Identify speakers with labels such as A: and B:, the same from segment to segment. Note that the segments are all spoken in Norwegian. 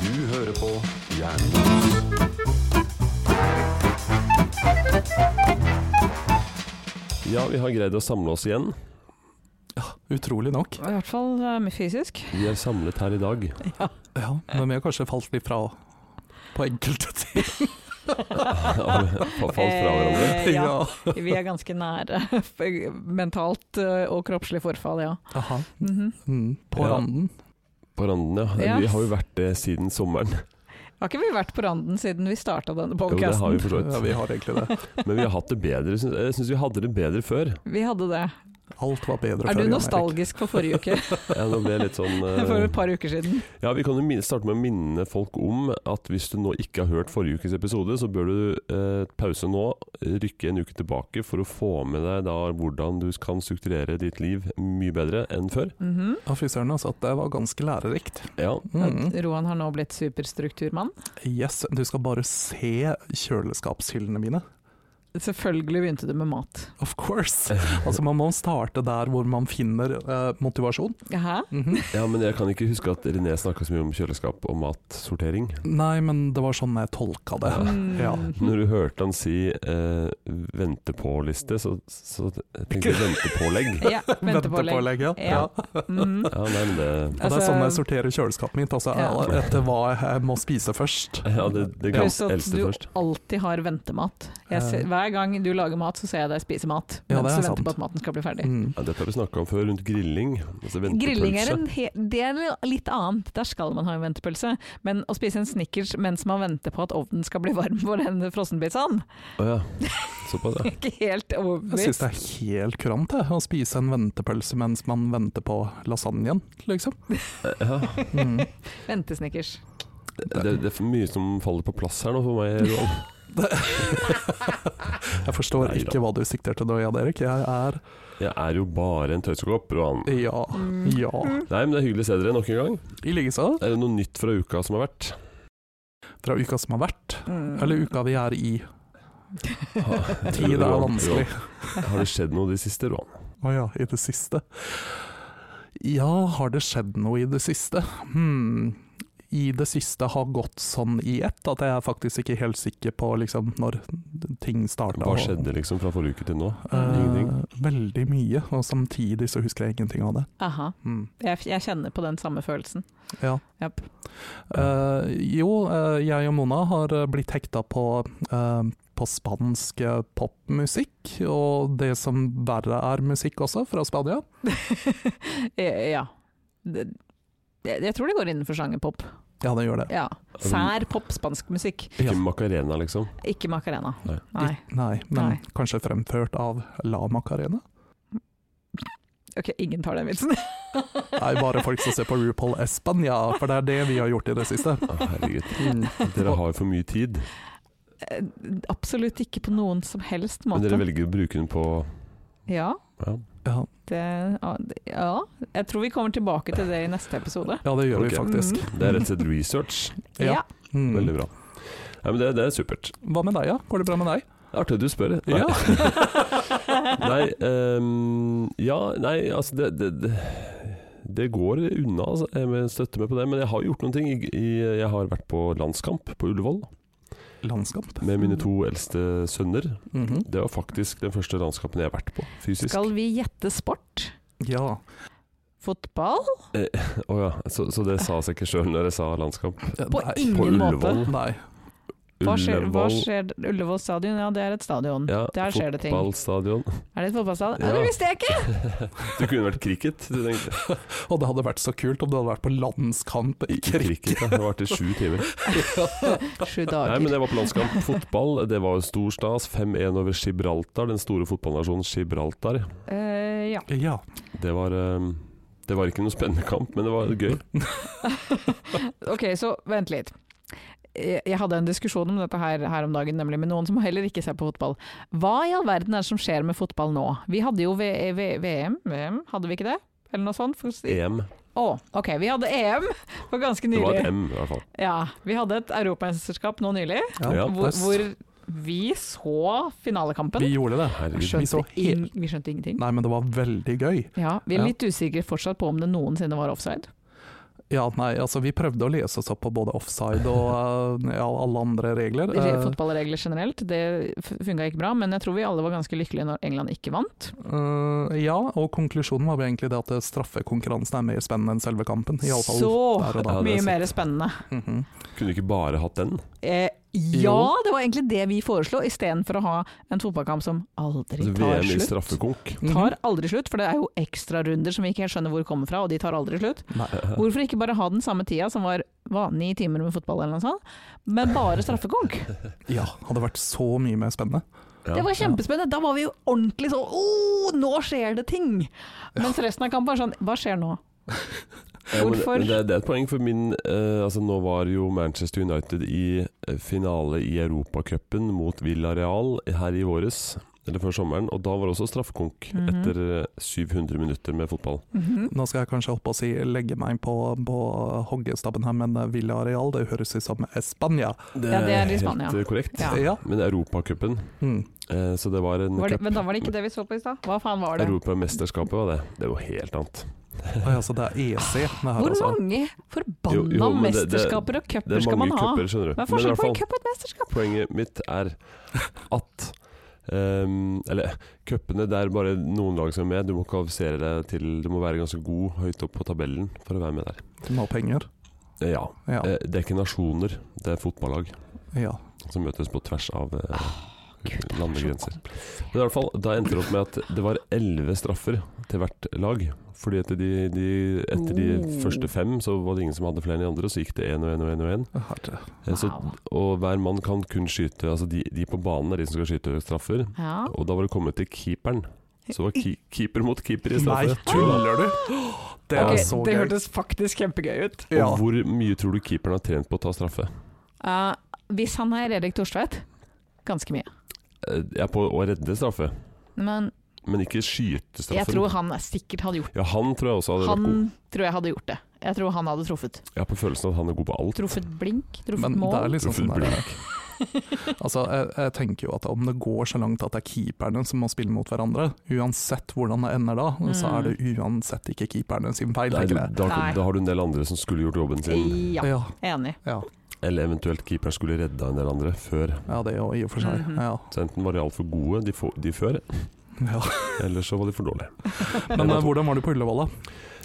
A: Du hører på Jernbos. Ja, vi har greid å samle oss igjen.
B: Utrolig nok.
C: I hvert fall eh, fysisk.
A: Vi er samlet her i dag.
B: Ja, men vi har kanskje falt litt fra på enkelte ting.
A: Har vi falt fra hverandre.
C: Eh, ja, vi er ganske nære mentalt eh, og kroppslig forfall, ja.
B: Aha.
C: Mhm.
B: Mm. På
A: Ja.
B: randen.
A: På randen, ja.
C: Ja.
A: Vi har jo vært det siden sommeren.
C: Har ikke vi vært på randen siden vi starta denne
A: Jo, det har
C: podkasten?
A: vi for så
B: Ja,
A: vidt.
B: vi har egentlig det.
A: Men vi har hatt det bedre. Syns- Jeg syns vi hadde det bedre før.
C: Vi hadde det.
B: Alt var bedre
C: Er
B: før.
C: du
B: Jan Erik.
C: nostalgisk for forrige uke?
A: Ja, nå ble jeg litt sånn eh,
C: For et par uker siden?
A: Ja, Vi kan jo minne, starte med å minne folk om at hvis du nå ikke har hørt forrige ukes episode, så bør du eh, pause nå, rykke en uke tilbake for å få med deg da hvordan du kan strukturere ditt liv mye bedre enn før.
C: Mhm.
B: Ja, fy søren, altså. at Det var ganske lærerikt.
A: Ja,
B: Mm.
C: Roan har nå blitt superstrukturmann.
B: Yes, du skal bare se kjøleskapshyllene mine.
C: Selvfølgelig begynte du med mat.
B: Of course!
A: Eh.
B: Altså, man må starte der hvor man finner eh, motivasjon.
C: Hæ?
B: Mhm.
A: ja men jeg kan ikke huske at René snakka så mye om kjøleskap og matsortering.
B: Nei, men det var sånn jeg tolka det.
C: Mm.
B: Ja.
A: Når du hørte han si eh, 'vente på-liste', så, så tenkte jeg 'ventepålegg'.
C: ja ventepålegg.
B: ja.
C: Ja. Mhm.
A: Ja, nei, men det
B: Og det er
C: Altså-
B: sånn jeg sorterer kjøleskapet mitt, altså
C: Ja.
B: eh, etter hva jeg må spise først.
A: Ja, det, det
C: Pluss
A: gamle
C: at
A: eldste
C: du
A: først.
C: alltid har ventemat.
B: Ja.
C: Jeg ser, hver gang du lager mat, så ser jeg deg spise mat.
B: Ja, det
C: mens
B: er
C: du venter
B: sant.
C: på at maten skal bli ferdig.
B: Mm.
A: Ja, dette har du snakka om før, rundt grilling. Altså
C: Grilling er,
A: ventepølse.
C: en he det er noe litt annet, der skal man ha en ventepølse. Men å spise en Snickers mens man venter på at ovnen skal bli varm for den frossenpizzaen,
A: Å ja. Såpass, ja.
C: ikke helt
B: Jeg syns
C: overbevist.
B: det er helt kurant jeg, å spise en ventepølse mens man venter på lasagnen, liksom.
A: ja.
B: Mm.
C: Ventesnickers.
A: Det, det er for mye som faller på plass her nå for meg. Roald.
B: Jeg forstår
A: Neida.
B: ikke hva du sikter til da, Jan Erik. Jeg er
A: Jeg er jo bare en tøysekopp. Roald.
B: ja,
C: Mm.
B: ja.
A: Nei, men det er hyggelig å se dere nok en gang.
B: I likeså
A: Er det noe nytt fra uka som har vært?
B: fra uka som har vært,
C: Mm.
B: eller uka vi er i.
A: Ha-
B: Tid er
A: Roald,
B: vanskelig.
A: Roald, Har det skjedd noe de siste, Roald?
B: Å ja, i det siste. Ja, har det skjedd noe i det siste? Hmm. I det siste har gått sånn i ett at jeg er faktisk ikke helt sikker på liksom, når ting starta.
A: Hva skjedde liksom fra forrige uke til nå? Ingenting?
B: Eh, veldig mye, og samtidig så husker jeg ingenting av det.
C: Aha.
B: Hmm.
C: Jeg, jeg kjenner på den samme følelsen.
B: Ja.
C: Japp.
B: Eh, jo, eh, jeg og Mona har eh, blitt hekta på, eh, på spansk eh, popmusikk, og det som verre er musikk også, fra Spania.
C: Eh, ja. Det, jeg, jeg tror det går innenfor sjangerpop.
B: Ja, det gjør det.
C: Ja. Sær pop, spansk musikk.
A: Ikke
B: Ja.
A: Macarena, liksom?
C: Ikke Macarena.
A: Nei.
C: Nei.
B: Nei, men
C: Nei.
B: kanskje fremført av La Macarena?
C: Ok, ingen tar den vitsen.
B: Nei, bare folk som ser på RuPaul Espania, for det er det vi har gjort i det siste.
A: Å, herregud,
B: Mm.
A: dere har jo for mye tid.
C: Eh, Absolutt ikke på noen som helst
A: Men
C: måte.
A: dere velger å bruke den på
C: Ja.
A: ja.
B: Ja,
C: Det, eh, ja, jeg tror vi kommer tilbake til det i neste episode.
B: ja, det gjør
A: Ok.
B: vi faktisk.
A: Det er rett og slett research.
B: Ja.
C: Ja.
B: Mm.
A: Veldig bra. Nei, men det, det er supert.
B: Hva med deg, ja? Går det bra med deg?
A: Det er Artig at du spør. Nei.
B: Ja.
A: nei, ehm, ja, nei, altså det, det, det det går unna, altså. jeg men støtter meg på det. Men jeg har gjort noen ting. I- i- Jeg har vært på landskamp på Ullevål
B: Landskap.
A: med mine to eldste sønner.
B: Mhm.
A: Det var faktisk den første landskampen jeg har vært på, fysisk.
C: Skal vi gjette sport?
B: Ja.
C: Fotball?
A: Å ja, så, så det sa seg ikke sjøl når jeg sa landskamp.
C: På
B: Eh, Nei.
A: På
C: ingen måte.
A: Ullevål.
B: Nei.
C: Hva skjer, hva
A: Ullevål.
C: skjer Ullevål stadion? Ja, det er et stadion.
A: Ja,
C: Der skjer det ting.
A: Fotballstadion.
C: Er det et fotballstadion?
A: Ja.
C: Ja. Det visste jeg ikke!
A: Det kunne vært cricket. Du tenkte.
B: Og det hadde vært så kult om det hadde vært på landskamp i Krik.
A: Cricket, ja. Det varte sju timer.
C: Sju
A: Nei,
C: dager.
A: men jeg var på landskamp fotball. Det var jo stor stas. 5-1 over Gibraltar, den store fotballnasjonen Gibraltar.
C: Eh, ja.
B: Ja.
A: Det var, eh, det var ikke noe spennende kamp, men det var gøy.
C: Ok, så vent litt. Jeg jeg hadde en diskusjon om dette her, her om dagen, nemlig med noen som heller ikke ser på fotball. Hva i all verden er det som skjer med fotball nå? Vi hadde jo v v VM, VM, hadde vi ikke det? Eller noe sånt? For å si.
A: EM.
C: Å, ok, vi hadde EM for ganske
A: E Det
C: nylig.
A: var et M, i hvert fall.
C: Ja, vi hadde et europamesterskap nå nylig,
A: Ja.
C: hvor, hvor Vi så finalekampen.
B: Vi gjorde det.
A: Herregud.
B: Skjønte vi så
C: ing- vi skjønte ingenting.
B: Nei, men det var veldig gøy.
C: Ja, vi er
B: Ja.
C: litt usikre fortsatt på om det noensinne var offside.
B: Ja, nei, altså vi prøvde å lese oss opp på både offside og eh, ja, alle andre regler.
C: Re
B: Eh,
C: fotballregler generelt, det f- funka ikke bra, men jeg tror vi alle var ganske lykkelige når England ikke vant.
B: eh, ja, og konklusjonen var vel egentlig det at eh, straffekonkurransen er mer spennende enn selve kampen. I alle fall
C: Så
B: der og da.
A: Ja, det er
C: mye
A: sant.
C: mer spennende.
B: Mhm.
A: Kunne ikke bare hatt den.
C: Eh, ja,
B: Jo.
C: det var egentlig det vi foreslo, istedenfor å ha en fotballkamp som aldri
A: Altså,
C: tar
A: VM i
C: slutt.
A: straffekonk.
B: Mhm.
C: Tar aldri slutt, for det er jo ekstrarunder som vi ikke helt skjønner hvor kommer fra, og de tar aldri slutt.
B: Nei.
C: Hvorfor ikke bare ha den samme tida, som var hva, ni timer med fotball eller noe sånt, men bare straffekonk?
B: Ja, hadde vært så mye mer spennende.
A: Ja.
C: Det var kjempespennende. Da var vi jo ordentlig sånn Åh, nå skjer det ting! Mens resten av kampen var sånn Hva skjer nå?
A: Ja, men det-
C: Hvorfor?
A: men Det, det er et poeng for min eh, altså Nå var jo Manchester United i eh, finale i Europacupen mot Villarreal her i våres, eller før sommeren, og da var det også straffekonk
C: Mhm.
A: etter eh, 700 minutter med fotball.
C: Mhm.
B: Nå skal jeg kanskje opp og si legge meg på, på hoggestabben her, men eh, Villareal, det høres ut som Spania.
C: Ja, det er i Spania.
A: Helt eh, korrekt.
C: Ja.
B: Ja.
A: Men Europacupen,
B: Mm.
A: eh, så det var en
C: Var det,
A: cup.
C: men da var det ikke det vi så på i stad? Hva faen var det?
A: Europamesterskapet var det. Det er jo helt annet.
B: Oi, altså, det er EC. Det her,
C: Hvor
B: altså.
C: mange
A: Jo,
C: forbanna
A: jo, men det- det-
C: mesterskaper
A: Det
C: og cuper
A: er
C: skal man
A: mange
C: ha?
A: cuper, skjønner du.
C: Hva er
A: Men i
C: forskjellen
A: hvert
C: på
A: fall-
C: en cup og et mesterskap?
A: Poenget mitt er at ehm, Eller cupene, det er bare noen lag som er med. Du må kvalifisere deg til Du må være ganske god høyt opp på tabellen for å være med der.
B: Du må ha penger.
A: Eh, Ja.
B: Ja.
A: Eh, Det er ikke nasjoner, det er fotballag
B: ja.
A: som møtes på tvers av eh,
C: Ah, Gud, det er så
A: landegrenser. Men i hvert fall, da endte det opp med at det var elleve straffer til hvert lag. Fordi etter de, de, etter de
C: Oh.
A: første fem så var det ingen som hadde flere enn de andre, så gikk det én og én og én og én.
B: Herre.
A: Eh, så-
C: Wow.
A: Og hver mann kan kun skyte Altså de, de på banen er de som skal skyte straffer.
C: Ja.
A: Og da var det kommet til keeperen. Så var ki keeper mot keeper i
B: Nei,
A: straffe.
B: tuller du? Det er
A: Ok,
B: så gøy.
C: faktisk kjempegøy ut.
B: ja.
A: Og hvor mye tror du keeperen har trent på å ta straffe?
C: hvis han er Erik Thorstvedt, ganske mye.
A: Eh, Jeg er på å redde straffe,
C: Men
A: men ikke skyte straffen.
C: jeg tror han sikkert hadde gjort det.
A: ja, han tror jeg også hadde
C: Han
A: vært god.
C: tror jeg hadde gjort det. Jeg tror han hadde truffet.
A: Jeg har på følelsen at han er god på alt.
C: Truffet blink, truffet
B: Men det
C: mål.
B: er liksom
A: Truffet
B: sånn der, altså, jeg, jeg tenker jo at om det går så langt at det er keeperne som må spille mot hverandre, uansett hvordan det ender da, så er
C: Mm.
B: det uansett ikke keeperne sin feil,
A: Nei, du,
B: tenker jeg.
A: da,
C: Nei.
A: da har du en del andre som skulle gjort jobben sin.
C: Ja,
B: Ja,
C: enig.
B: ja,
A: Eller eventuelt keeperen skulle redda en del andre før.
B: ja, det er jo i og for seg.
C: Mhm.
B: Ja.
A: Så enten var de altfor gode, de, få- de før,
B: Ja.
A: eller så var de for dårlige.
B: Men eh, hvordan var du på Ullevål, da?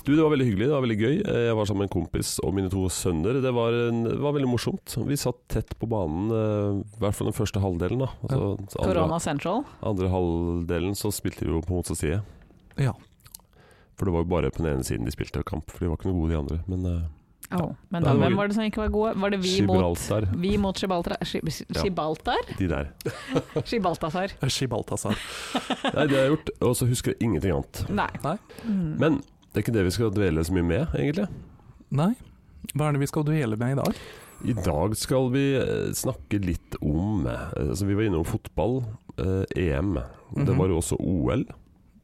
A: Du, Det var veldig hyggelig, det var veldig gøy. Eh, Jeg var sammen med en kompis og mine to sønner. Det var, en, det var veldig morsomt. Vi satt tett på banen, eh, i hvert fall den første halvdelen. da. Altså, andre,
C: Corona Central.
A: andre halvdelen så spilte vi jo på motsatt side.
B: Ja.
A: For det var jo bare på den ene siden de spilte kamp, for de var ikke noe gode de andre. Men eh,
C: Oh, men
A: Det
C: da,
A: er
C: hvem
A: mye-
C: var det som ikke var gode? Var det vi mot
A: Gibraltar,
C: vi mot Gibraltar? Gi-
A: Ja.
C: Gibraltar?
A: de der.
C: Gibraltar?
B: Eh, Gibaltasar.
A: Nei, det har jeg gjort, og så husker jeg ingenting annet.
C: Nei.
B: Nei.
C: Mm.
A: Men det er ikke det vi skal dvele så mye med, egentlig.
B: Nei, hva er det vi skal duelle med i dag?
A: I dag skal vi eh, snakke litt om eh, altså Vi var innom fotball, eh, EM. Det
B: Mhm.
A: var jo også OL.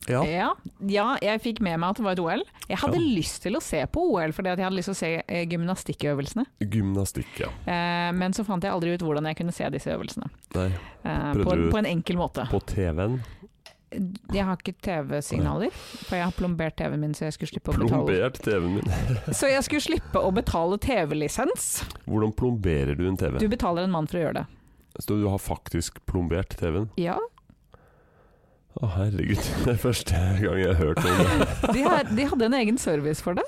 B: Ja,
C: Ja. ja, jeg fikk med meg at det var et OL. Jeg hadde
A: Ja.
C: lyst til å se på OL, fordi at jeg hadde lyst til å se eh, gymnastikkøvelsene.
A: Gymnastikk, ja.
C: Eh, men så fant jeg aldri ut hvordan jeg kunne se disse øvelsene.
A: Nei,
C: Eh,
A: Prøvde
C: på, en,
A: du-
C: på en enkel måte.
A: på TV-en.
C: Jeg har ikke TV-signaler, for jeg har plombert TV-en min, så jeg skulle slippe å betale.
A: Plombert TV-en min.
C: Så jeg skulle slippe å betale TV-lisens.
A: Hvordan plomberer du en TV?
C: Du betaler en mann for å gjøre det.
A: Så du har faktisk plombert TV-en?
C: Ja,
A: Å herregud, det er første gang jeg har hørt om det.
C: de, har, de hadde en egen service for det.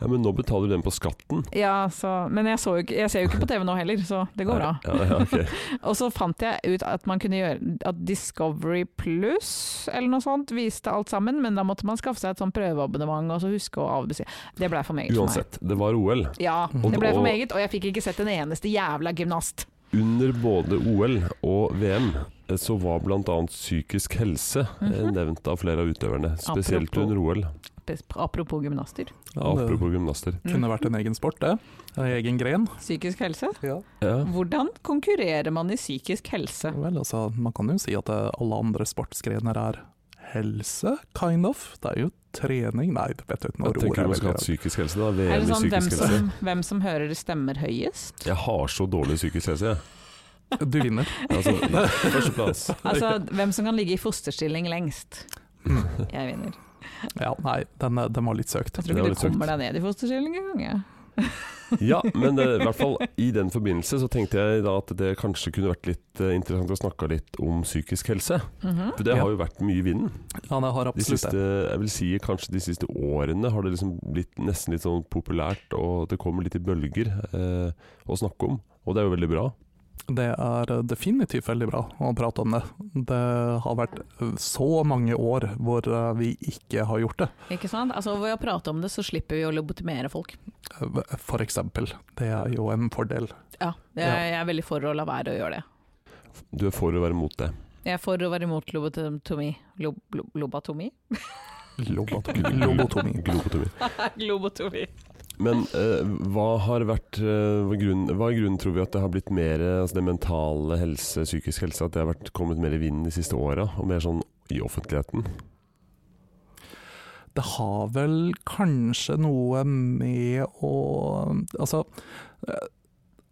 A: Ja, men nå betaler du den på skatten.
C: Ja, så, men jeg, så jo, ikke- jeg ser jo ikke på TV nå heller, så det går bra.
A: Ja, ja, ok.
C: Og så fant jeg ut at man kunne gjøre at Discovery Pluss eller noe sånt viste alt sammen, men da måtte man skaffe seg et sånn prøveabonnement og så huske å avbestille. Det blei for meget for meg.
A: Uansett, det var OL.
C: Ja, det
A: Og-
C: ble for
A: og-
C: meget, og jeg fikk ikke sett en eneste jævla gymnast.
A: Under både OL og VM eh, så var bl.a. psykisk helse eh,
C: Mhm.
A: nevnt av flere av utøverne. Spesielt
C: Apropos.
A: under OL.
C: Apropos gymnaster. Mm.
A: Ja, apropos gymnaster.
B: kunne vært en egen sport, det. En egen gren.
C: Psykisk helse?
B: Ja.
A: Ja.
C: Hvordan konkurrerer man i psykisk helse?
B: Vel, altså, man kan jo si at eh, alle andre sportsgrener er helse, kind of. Det er jo trening Nei, vet du,
A: Jeg
B: når ordet
A: tenker
B: er
A: man skal ha
B: veldig
A: psykisk helse, da. VM
C: Er det
A: i
C: sånn hvem
A: psykisk helse.
C: som, hvem som hører stemmer høyest?
A: Jeg har så dårlig psykisk helse, jeg.
B: Du vinner.
A: Altså, Førsteplass.
C: Altså, hvem som kan ligge i fosterstilling lengst. Jeg vinner.
B: Ja, nei, den, er- den var litt søkt.
C: Jeg
A: Det
C: tror
A: var
C: ikke
A: litt
C: du kommer deg ned i fosterstilling engang. jeg.
A: Ja, men eh, i hvert fall i den forbindelse så tenkte jeg da at det kanskje kunne vært litt eh, interessant å snakke litt om psykisk helse.
C: Mhm.
A: For det har jo vært mye i vinden.
B: Ja, det har
A: De
B: absolutt
A: siste,
B: det.
A: jeg vil si kanskje de siste årene har det liksom blitt nesten litt sånn populært, og det kommer litt i bølger eh, å snakke om. Og det er jo veldig bra.
B: Det er eh, definitivt veldig bra å prate om det. Det har vært eh, så mange år hvor eh, vi ikke har gjort det,
C: Ikke sant? Altså, ved å prate om det, så slipper vi å lobotomere folk.
B: Eh, for eksempel. Det er jo en fordel.
C: Ja, jeg,
B: Ja.
C: jeg er veldig for å la være å gjøre det.
A: Du er for å være mot det.
C: Jeg er for å være imot lobotomi. Lob, lob, lobatomi?
B: Lobotomi. Lobotomi.
A: Globotomi.
C: Globotomi.
A: Men eh, hva har vært eh, hva grunnen, hva er grunnen tror vi at det har blitt mer eh, altså det mentale helse, psykisk helse, at det har vært, kommet mer i vinden de siste åra, og mer sånn i offentligheten?
B: Det har vel kanskje noe med å Altså, eh,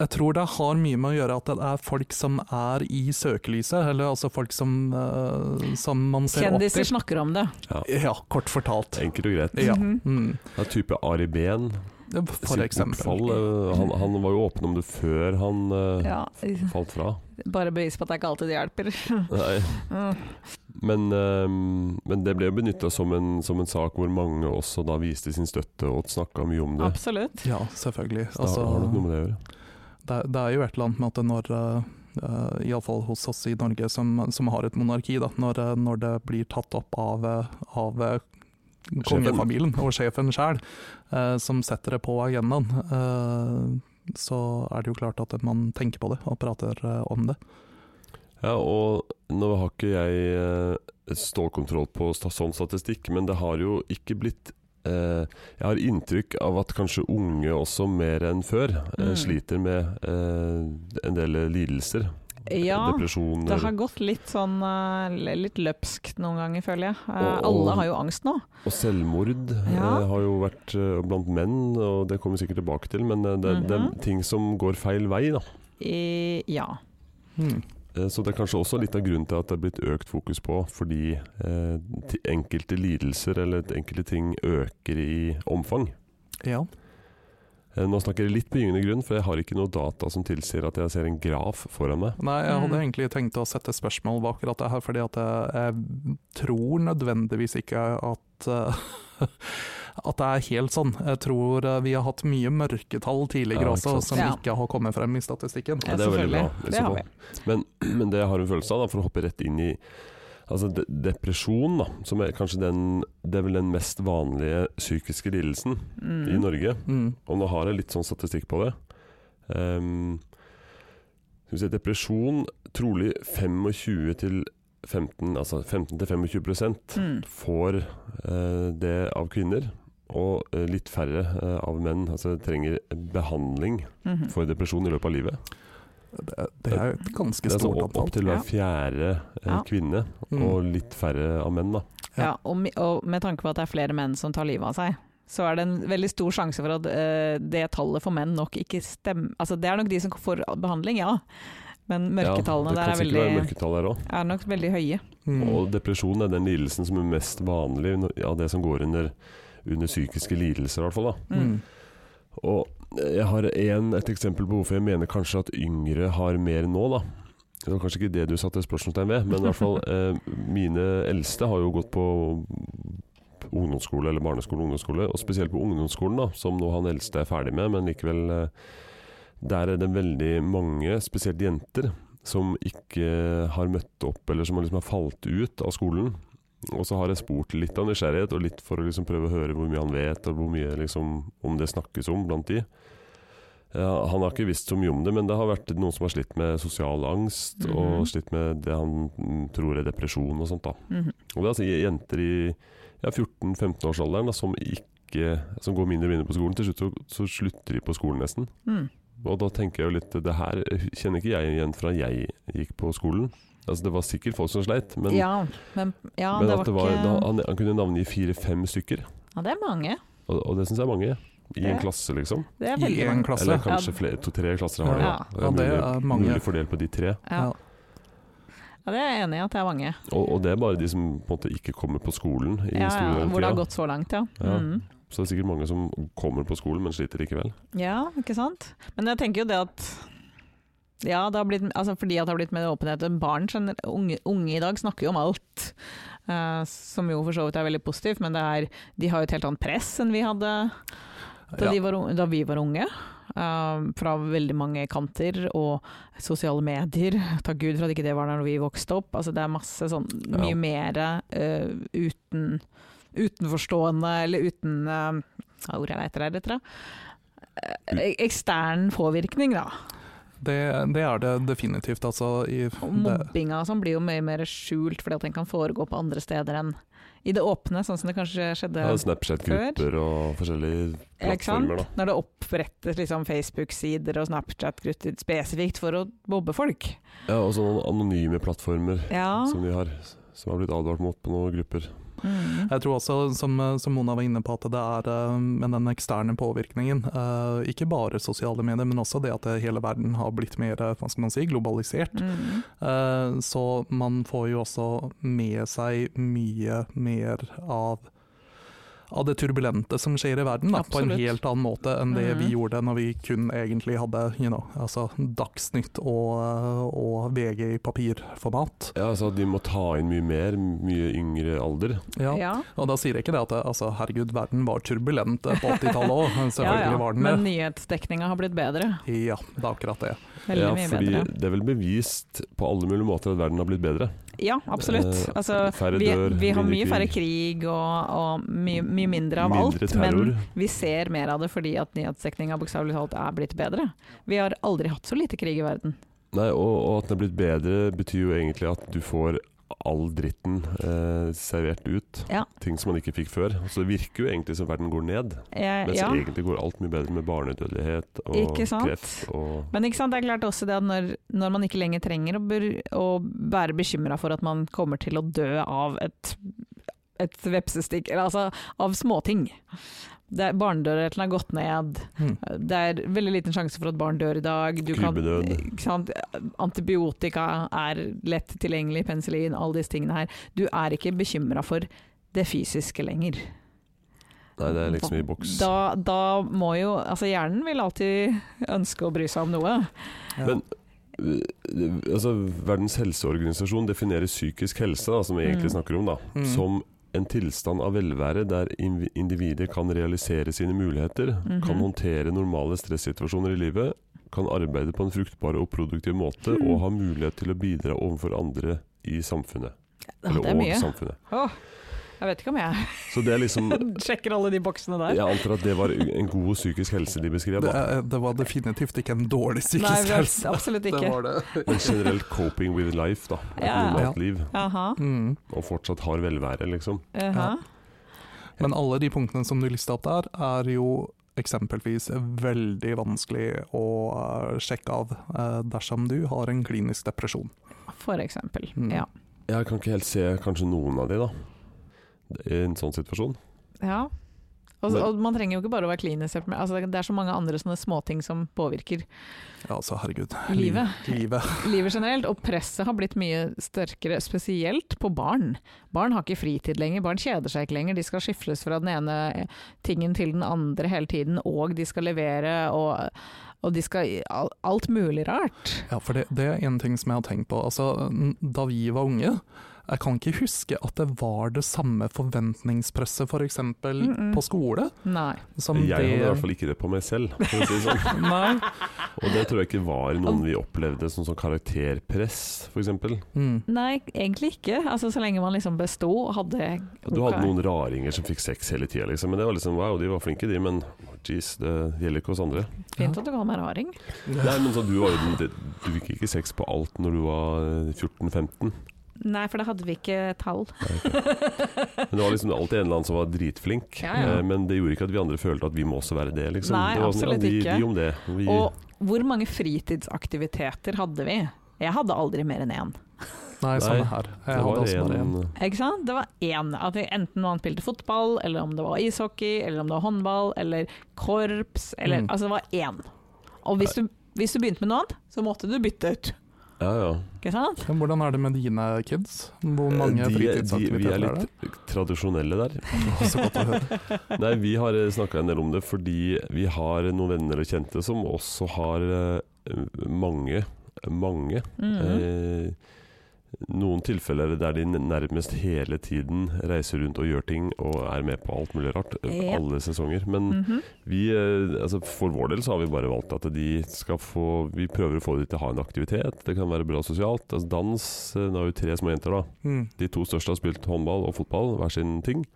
B: jeg tror det har mye med å gjøre at det er folk som er i søkelyset, eller altså folk som, eh, som man ser
C: Kjendiser
B: opp
C: snakker om det.
B: til. Ja, kort fortalt.
A: Enkelt og greit.
B: Ja.
C: Mhm.
B: Mm.
A: Det er type Ari Behn,
B: For
A: sitt
B: eksempel.
A: bortfall, eh, han, han var jo åpen om det før han eh,
C: Ja,
A: falt fra.
C: bare bevis på at det ikke alltid hjelper.
A: Nei.
C: Mm.
A: Men, ehm, men det ble jo benytta som, en- som en sak hvor mange også da viste sin støtte og snakka mye om det.
C: Absolutt.
B: Ja, selvfølgelig.
A: Så da har det noe
B: Altså,
A: med det å gjøre.
B: det, det er jo et eller annet med at når eh, eh, i alle fall hos oss i Norge som, som har et monarki, da, når, eh, når det blir tatt opp av, eh, av eh, kongefamilien og sjefen sjøl, som setter det på agendaen, eh, så er det jo klart at man tenker på det og prater eh, om det.
A: Ja, og nå har ikke jeg eh, stålkontroll på sta- sånn statistikk, men det har jo ikke blitt eh, Jeg har inntrykk av at kanskje unge også mer enn før eh,
C: Mm.
A: sliter med eh, en del lidelser.
C: Ja, det
A: Depresjoner.
C: har gått litt sånn eh, litt løpskt noen ganger, føler jeg. Eh,
A: Og- og-
C: Alle har jo angst nå.
A: Og selvmord
C: Ja.
A: eh, har jo vært eh, blant menn, og det kommer vi sikkert tilbake til, men eh, det, det
C: Mhm.
A: er ting som går feil vei, da.
C: I, ja.
B: Hmm.
A: Eh, Så det er kanskje også litt av grunnen til at det er blitt økt fokus på, fordi eh, ti- enkelte lidelser eller enkelte ting øker i omfang.
B: Ja.
A: Eh, nå snakker jeg litt på gyngende grunn, for jeg har ikke noe data som tilsier at jeg ser en graf foran meg.
B: Nei, jeg hadde
C: Mm.
B: egentlig tenkt å sette spørsmål bak akkurat det her, fordi at jeg, jeg tror nødvendigvis ikke at eh, at det er helt sånn. Jeg tror eh, vi har hatt mye mørketall tidligere
A: Ja, ikke
B: også,
A: sant.
B: som
C: Ja.
B: ikke har kommet frem i statistikken.
A: Ja, det er veldig
C: selvfølgelig.
A: bra, i
C: Det
A: så
C: har
A: fall. Men, men det jeg har en følelse av, da, for å hoppe rett inn i altså de depresjon, da, som er kanskje den, det er vel den mest vanlige psykiske lidelsen i
C: Mm.
A: Norge.
B: Mm.
A: Og nå har jeg litt sånn statistikk på det. Ehm, skal vi se, depresjon trolig 25 til 15, altså 15 til 25 prosent
C: Mm.
A: får eh, det av kvinner. Og eh, litt færre eh, av menn altså, trenger behandling
C: Mhm.
A: for depresjon i løpet av livet.
B: Det, det er et ganske
A: Det er sånn
B: stort
A: opp, opp
B: antall.
A: til hver
C: Ja.
A: fjerde eh,
C: Ja.
A: kvinne,
B: Mm.
A: og litt færre av menn. da.
B: Ja.
C: Ja, og, mi- og med tanke på at det er flere menn som tar livet av seg, så er det en veldig stor sjanse for at eh, det tallet for menn nok ikke stemmer Altså det er nok de som får behandling, ja. Men mørketallene
A: ja, det
C: der
A: kan
C: er,
A: sikkert
C: veldig,
A: være mørketall der også.
C: er nok veldig høye.
B: Mm.
A: Og depresjon er den lidelsen som er mest vanlig no- av det som går under, under psykiske lidelser, i hvert fall. da.
C: Mm.
B: Mm.
A: Og jeg har en, et eksempel på hvorfor jeg mener kanskje at yngre har mer nå, da. Det var kanskje ikke det du satte spørsmålstegn ved, men i hvert fall eh, mine eldste har jo gått på ungdomsskole eller barneskole, ungdomsskole, og spesielt på ungdomsskolen, da, som nå han eldste er ferdig med, men likevel eh, der er det veldig mange, spesielt jenter, som ikke har møtt opp, eller som har liksom har falt ut av skolen. Og så har jeg spurt litt av nysgjerrighet, og litt for å liksom prøve å høre hvor mye han vet, og hvor mye liksom, om det snakkes om blant de. Ja, han har ikke visst så mye om det, men det har vært noen som har slitt med sosial angst,
C: Mhm.
A: og slitt med det han mm, tror er depresjon og sånt.
B: Mm.
A: da.
C: Mhm.
A: Og det er altså jenter i ja, 14-15-årsalderen da, som, ikke- som går mindre og mindre på skolen. Til slutt så, så slutter de på skolen nesten.
C: Mm.
A: Og da tenker jeg jo litt Det her kjenner ikke jeg igjen fra jeg gikk på skolen. Altså Det var sikkert folk som sleit, men,
C: ja, men, ja,
A: men
C: det
A: at
C: var
A: det var,
C: ikke
A: da, han, han kunne navngi fire-fem stykker.
C: Ja, det er mange.
A: Og, og det syns jeg er mange. I en klasse, liksom.
C: Det er
B: I
C: veldig
B: en
C: mange.
B: klasse.
A: Eller kanskje flere, to-tre klasser har det.
C: Ja.
A: da.
B: Ja, det
A: mulig-
B: er mange.
A: Mulig fordel på de tre.
C: Ja.
B: Ja.
C: ja, det er jeg enig i at det er mange.
A: Og, og det er bare de som på en måte ikke kommer på skolen i
C: Ja,
A: store
C: ja,
A: deler av
C: hvor det har
A: tida.
C: gått så langt, ja.
A: Ja.
C: Mm.
A: Så det er sikkert mange som kommer på skolen, men sliter likevel.
C: Ja, ikke sant? Men jeg tenker jo det at ja, det har blitt, altså fordi at det har blitt mer åpenhet. Barn, gener- unge, unge i dag snakker jo om alt, eh, som jo for så vidt er veldig positivt, men det er, de har jo et helt annet press enn vi hadde da,
B: Ja.
C: de var, un- da vi var unge. eh, fra veldig mange kanter, og sosiale medier. Takk Gud for at ikke det var der når vi vokste opp. Altså, det er masse sånn mye
A: Ja.
C: mer eh, uten, utenforstående, eller uten eh, Hva ord er det etter her, etter det? Eh, Ekstern påvirkning, da.
B: Det, det er det definitivt, altså. I
C: Og
B: det.
C: mobbinga og sånn blir jo mye mer skjult, fordi at den kan foregå på andre steder enn i det åpne, sånn som det kanskje skjedde.
A: Ja, Snapchat-grupper og forskjellige
C: ikke sant?
A: plattformer. da.
C: Når det opprettes liksom Facebook-sider og Snapchat-grupper spesifikt for å mobbe folk.
A: Ja, og sånne anonyme plattformer
C: Ja.
A: som de har, som har blitt advart mot på noen grupper.
C: Mm.
B: Jeg tror også, som, som Mona var inne på, at det er eh, med den eksterne påvirkningen. eh, Ikke bare sosiale medier, men også det at eh, hele verden har blitt mer eh, hva skal man si, globalisert.
C: Mm.
B: Eh, Så man får jo også med seg mye mer av av det turbulente som skjer i verden, da, på en
C: Absolutt.
B: helt annen måte enn det vi
C: Mhm.
B: gjorde når vi kun egentlig hadde you know, altså Dagsnytt og, eh, og VG i papirformat.
A: Ja, altså at de må ta inn mye mer, mye yngre alder.
B: Ja.
C: Ja.
B: Og da sier jeg ikke det at det, altså, herregud, verden var turbulent eh, på 80-tallet òg.
C: Ja,
B: Selvfølgelig
C: ja.
B: var den det.
C: Men nyhetsdekninga har blitt bedre.
B: Ja, det er akkurat det.
C: Veldig
A: ja,
C: mye
A: fordi
C: bedre.
A: det er vel bevist på alle mulige måter at verden har blitt bedre.
C: Ja, absolutt.
A: Eh,
C: Altså,
A: færre
C: vi,
A: dør,
C: vi har
A: mindre
C: mye færre
A: krig.
C: krig og, og mye, mye mindre av
A: Mindre
C: alt.
A: terror.
C: Men vi ser mer av det fordi at nyhetsdekninga bokstavelig talt er blitt bedre. Vi har aldri hatt så lite krig i verden.
A: Nei, og, og at den er blitt bedre betyr jo egentlig at du får all dritten eh, servert ut.
C: Ja.
A: Ting som man ikke fikk før. Så det virker jo egentlig som verden går ned.
C: Eh,
A: Mens
C: ja.
A: egentlig går alt mye bedre med barnedødelighet og
C: Ikke sant?
A: kreft og
C: Men ikke sant? det er klart også det at når, når man ikke lenger trenger å, bur, å være bekymra for at man kommer til å dø av et, et vepsestikk, eller altså av småting. Det er- Barnedødeligheten har gått ned.
B: Mm.
C: Det er veldig liten sjanse for at barn dør i dag. Du kan-
A: Krybbedød.
C: ikke sant? Antibiotika er lett tilgjengelig, penicillin, alle disse tingene her. Du er ikke bekymra for det fysiske lenger.
A: Nei, det er liksom i boks.
C: Da, da må jo Altså, hjernen vil alltid ønske å bry seg om noe.
B: Ja.
A: Men- Eh, altså, Verdens helseorganisasjon definerer psykisk helse, da, som vi egentlig
C: Mm.
A: snakker om, da,
B: Mm.
A: som en tilstand av velvære der inv- individer kan realisere sine muligheter,
C: Mhm.
A: kan håndtere normale stressituasjoner i livet, kan arbeide på en fruktbar og produktiv måte
C: Hmm.
A: og ha mulighet til å bidra overfor andre i samfunnet.
C: Ja, det er
A: og
C: mye.
A: samfunnet.
C: Åh, jeg vet ikke om jeg
A: Så det er liksom
C: sjekker alle de boksene der.
A: Jeg antar at det var en god psykisk helse de beskrev,
B: det,
A: da.
B: er- det var definitivt ikke en dårlig
C: Nei,
B: psykisk
C: vi har-
B: helse.
C: absolutt
B: Det
C: ikke.
B: var det.
A: Men generelt coping with life, da. Et
C: Ja.
A: normalt liv.
C: Aha,
B: Mm.
A: Og fortsatt har velvære, liksom.
C: aha.
B: Men alle de punktene som du lista opp der, er jo eksempelvis veldig vanskelig å eh, sjekke av eh, dersom du har en klinisk depresjon.
C: For eksempel.
B: Mm.
C: Ja.
A: Jeg kan ikke helt se kanskje noen av de, da. I en sånn situasjon.
C: ja. Og,
A: Men-
C: og man trenger jo ikke bare å være klinisk deprimert. Altså, det er så mange andre sånne småting som påvirker
B: Ja, altså herregud.
C: Livet.
B: Li- Livet.
C: livet generelt. Og presset har blitt mye sterkere, spesielt på barn. Barn har ikke fritid lenger, barn kjeder seg ikke lenger. De skal skifles fra den ene eh, tingen til den andre hele tiden, og de skal levere, og, og de skal i- al- alt mulig rart.
B: Ja, for det, det er en ting som jeg har tenkt på. Altså, n- da vi var unge, jeg kan ikke huske at det var det samme forventningspresset f.eks. eksempel
C: Mm-mm.
B: på skole.
C: Nei.
B: Som
A: Jeg hadde i
B: det-
A: hvert fall ikke det på meg selv, for å si det sånn.
B: Nei.
A: Og det tror jeg ikke var noen vi opplevde som sånn karakterpress, f.eks.
B: Mm.
C: Nei, egentlig ikke. Altså, så lenge man liksom besto og hadde
A: Du hadde noen raringer som fikk sex hele tida, liksom. Men det var liksom wow, de var flinke de, men jeez, det gjelder ikke oss andre.
C: Fint at du kaller meg raring.
A: Nei, men så sånn, du, var jo den- det- du fikk ikke sex på alt når du var eh, 14-15.
C: Nei, for da hadde vi ikke tall.
A: Men det var liksom alltid en eller annen som var dritflink.
C: Ja, ja.
A: eh, Men det gjorde ikke at vi andre følte at vi må også være det, liksom.
C: Nei,
A: det var
C: absolutt
A: de,
C: ikke.
A: De om det. Vi,
C: Og hvor mange fritidsaktiviteter hadde vi? Jeg hadde aldri mer enn én.
B: Nei,
A: Nei,
B: samme her. Jeg
A: det
B: hadde
A: var
B: også bare én.
A: en
C: Ikke sant? Det var én. At det- enten man spilte fotball, eller om det var ishockey, eller om det var håndball, eller korps, eller
B: Mm.
C: Altså, det var én. Og hvis du, hvis du begynte med noe annet, så måtte du bytte ut.
A: Ja, ja.
C: Ikke sant?
B: Men Hvordan er det med dine kids? Hvor mange
A: Eh, de- de- Vi
B: fritidsaktiviteter
A: er
B: er det?
A: litt tradisjonelle der.
B: Så godt å høre.
A: Nei, vi har snakka en del om det fordi vi har noen venner og kjente som også har eh, mange, mange
C: Mhm.
A: eh, Noen tilfeller der de nærmest hele tiden reiser rundt og gjør ting og er med på alt mulig rart. eh,
C: Ja.
A: Alle sesonger. Men
C: Mhm.
A: vi, eh, altså for vår del så har vi bare valgt at de skal få Vi prøver å få dem til å ha en aktivitet. Det kan være bra sosialt. Altså dans eh, Nå er jo tre små jenter, da.
B: Mm.
A: De to største har spilt håndball og fotball, hver sin ting.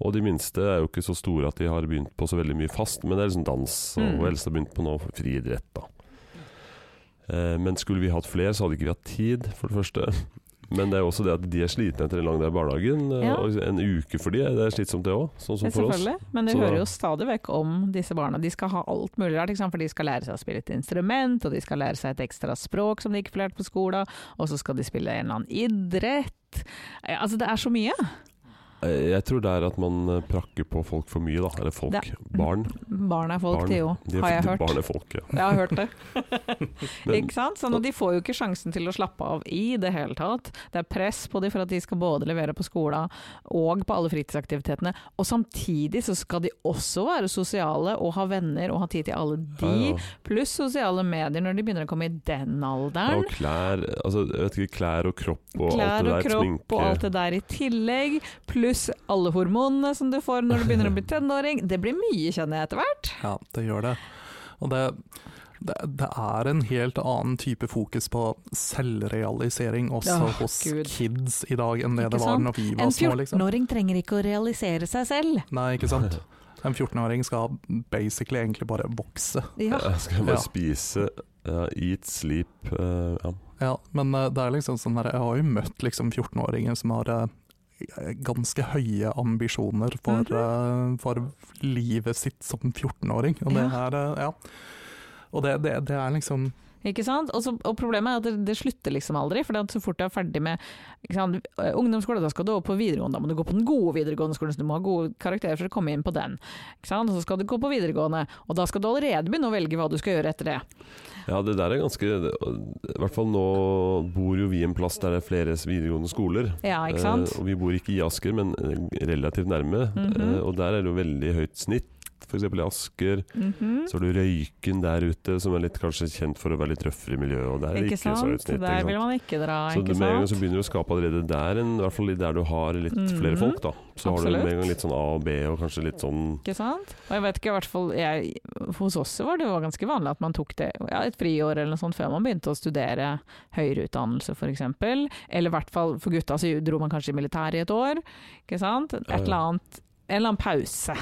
A: Og de minste er jo ikke så store at de har begynt på så veldig mye fast, men det er liksom dans. Og
C: Mm.
A: hun eldste har begynt på noe friidrett, da. Eh, men skulle vi hatt flere, så hadde ikke vi hatt tid, for det første. Men det er jo også det at de er slitne etter en lang dag i barnehagen. eh,
C: Ja.
A: Og en uke for de, det er slitsomt det òg, sånn som for oss.
C: Selvfølgelig. Men vi
A: Så-
C: hører jo stadig vekk om disse barna. De skal ha alt mulig rart, ikke sant? for de skal lære seg å spille et instrument, og de skal lære seg et ekstra språk som de ikke får lært på skolen, og så skal de spille en eller annen idrett. Eh, Altså, det er så mye.
A: Eh, Jeg tror det er at man eh, prakker på folk for mye, da. Eller folk.
C: Det-
A: Barn.
C: Barn er folk,
A: barn.
C: det jo,
A: De er-
C: har jeg
A: de-
C: hørt.
A: Barn er folk, ja.
C: Jeg har hørt det.
A: Men,
C: ikke sant? Sånn, og de får jo ikke sjansen til å slappe av i det hele tatt. Det er press på dem for at de skal både levere på skolen og på alle fritidsaktivitetene. Og samtidig så skal de også være sosiale og ha venner og ha tid til alle de,
A: ja, ja.
C: pluss sosiale medier når de begynner å komme i den
A: Ja,
C: alderen.
A: og klær, altså, jeg vet ikke, klær og kropp og alt
C: Klær
A: det
C: og
A: der,
C: kropp
A: sminke
C: og alt det der i tillegg, pluss alle hormonene som du får når du begynner å bli tenåring. Det blir mye, kjenner jeg, etter hvert.
B: Ja, det gjør det. Og det, det, det er en helt annen type fokus på selvrealisering også
C: Åh,
B: hos
C: Gud.
B: kids i dag enn det
C: Ikke
B: det var
C: sant?
B: når vi var
C: En
B: små. Liksom.
C: 14-åring trenger ikke å realisere seg selv.
B: Nei, ikke sant. En 14-åring skal basically egentlig bare vokse.
C: Ja.
A: Jeg skal bare
B: Ja.
A: spise, ja, eat, sleep eh, ja.
B: Ja, men eh, det er liksom sånn der, jeg har jo møtt liksom 14-åringer som har eh, ganske høye ambisjoner for, eh, for livet sitt som 14-åring. Og det
C: Mhm. Ja.
B: er, eh, ja. Og det, det, det er liksom
C: Ikke sant? Og, så, og problemet er at det, det slutter liksom aldri. For så fort du er ferdig med ikke sant, eh, ungdomsskole, da skal du over på videregående. Da må du gå på den gode videregående skolen, så du må ha gode karakterer for å komme inn på den. Ikke sant? Og så skal du gå på videregående, og da skal du allerede begynne å velge hva du skal gjøre etter det.
A: ja, det der er ganske I hvert fall nå bor jo vi en plass der det er flere videregående skoler.
C: Ja, ikke sant?
A: Eh, og vi bor ikke i Asker, men eh, relativt nærme.
C: Mhm.
A: Eh, og der er det jo veldig høyt snitt. F.eks. i Asker.
C: Mhm.
A: Så har du Røyken der ute, som er litt kanskje kjent for å være litt røffere i miljøet. Og der er det
C: Ikke
A: ikke, så høyt
C: sant?
A: snitt.
C: Der
A: ikke
C: vil
A: sant?
C: man ikke dra,
A: Så
C: ikke
A: du med en gang
C: sant?
A: så begynner du å skape allerede der, en, i hvert fall der du har litt flere
C: Mhm.
A: folk, da. Så har du med
C: Absolutt.
A: en gang litt sånn A og B, og kanskje litt sånn
C: Ikke sant? Og jeg vet ikke, i hvert fall jeg, hos oss så var det jo ganske vanlig at man tok det, ja, et friår eller noe sånt før man begynte å studere høyere utdannelse f.eks. Eller i hvert fall for gutta så dro man kanskje i militæret i et år. Ikke sant? Et
A: Ja, ja.
C: eller annet, en eller annen pause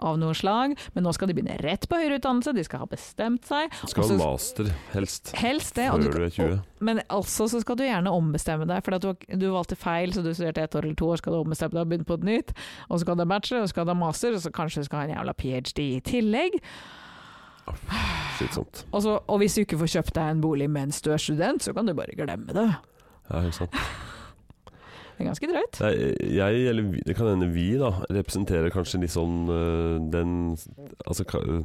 C: av noe slag. Men nå skal de begynne rett på høyere utdannelse, de skal ha bestemt seg.
A: Skal ha
C: Og så-
A: en master, helst.
C: Helst det.
A: Før
C: Og du,
A: du er 20.
C: men altså så skal du gjerne ombestemme deg, for at du, du valgte feil, så du studerte ett år eller to år, skal du ombestemme deg og begynne på et nytt, og så kan du ha bachelor, og så kan du ha master, og så kanskje du skal ha en jævla ph.d. i tillegg.
A: Slitsomt.
C: Og, så, og hvis du ikke får kjøpt deg en bolig mens du er student, så kan du bare glemme det.
A: Ja, ikke sant.
C: Det er ganske drøyt.
A: Nei, Jeg, eller vi, det kan hende vi, da, representerer kanskje litt sånn øh, den Altså ka- øh,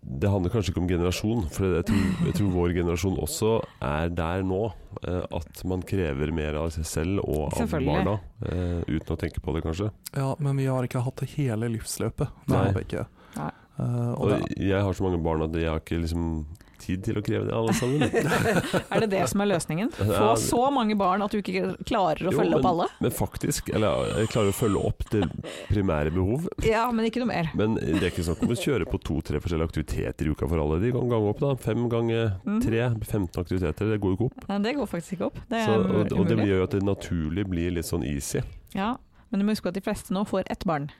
A: Det handler kanskje ikke om generasjon, for jeg tror, jeg tror vår generasjon også er der nå. øh, At man krever mer av seg selv og av
C: Selvfølgelig.
A: barna. øh, Uten å tenke på det, kanskje.
B: Ja, men vi har ikke hatt det hele livsløpet. Det
A: Nei.
B: har vi ikke.
C: Nei.
B: Eh, og det,
A: Og jeg har så mange barn at jeg har ikke liksom tid til å kreve det, alle sammen.
C: Er det det som er løsningen? Få
A: Ja.
C: så mange barn at du ikke klarer å
A: Jo,
C: følge
A: men-
C: opp alle?
A: Men faktisk, eller jeg klarer å følge opp det primære behov,
C: Ja, men ikke noe mer.
A: Men det er ikke snakk om å kjøre på to-tre forskjellige aktiviteter i uka for alle. De kan gange opp, da. Fem ganger tre, 15 aktiviteter. Det går jo ikke opp.
C: Nei, det går faktisk ikke opp. Det er
A: Så, og, og det
C: umulig.
A: gjør jo at det naturlig blir litt sånn easy.
C: Ja, men du må huske at de fleste nå får ett barn.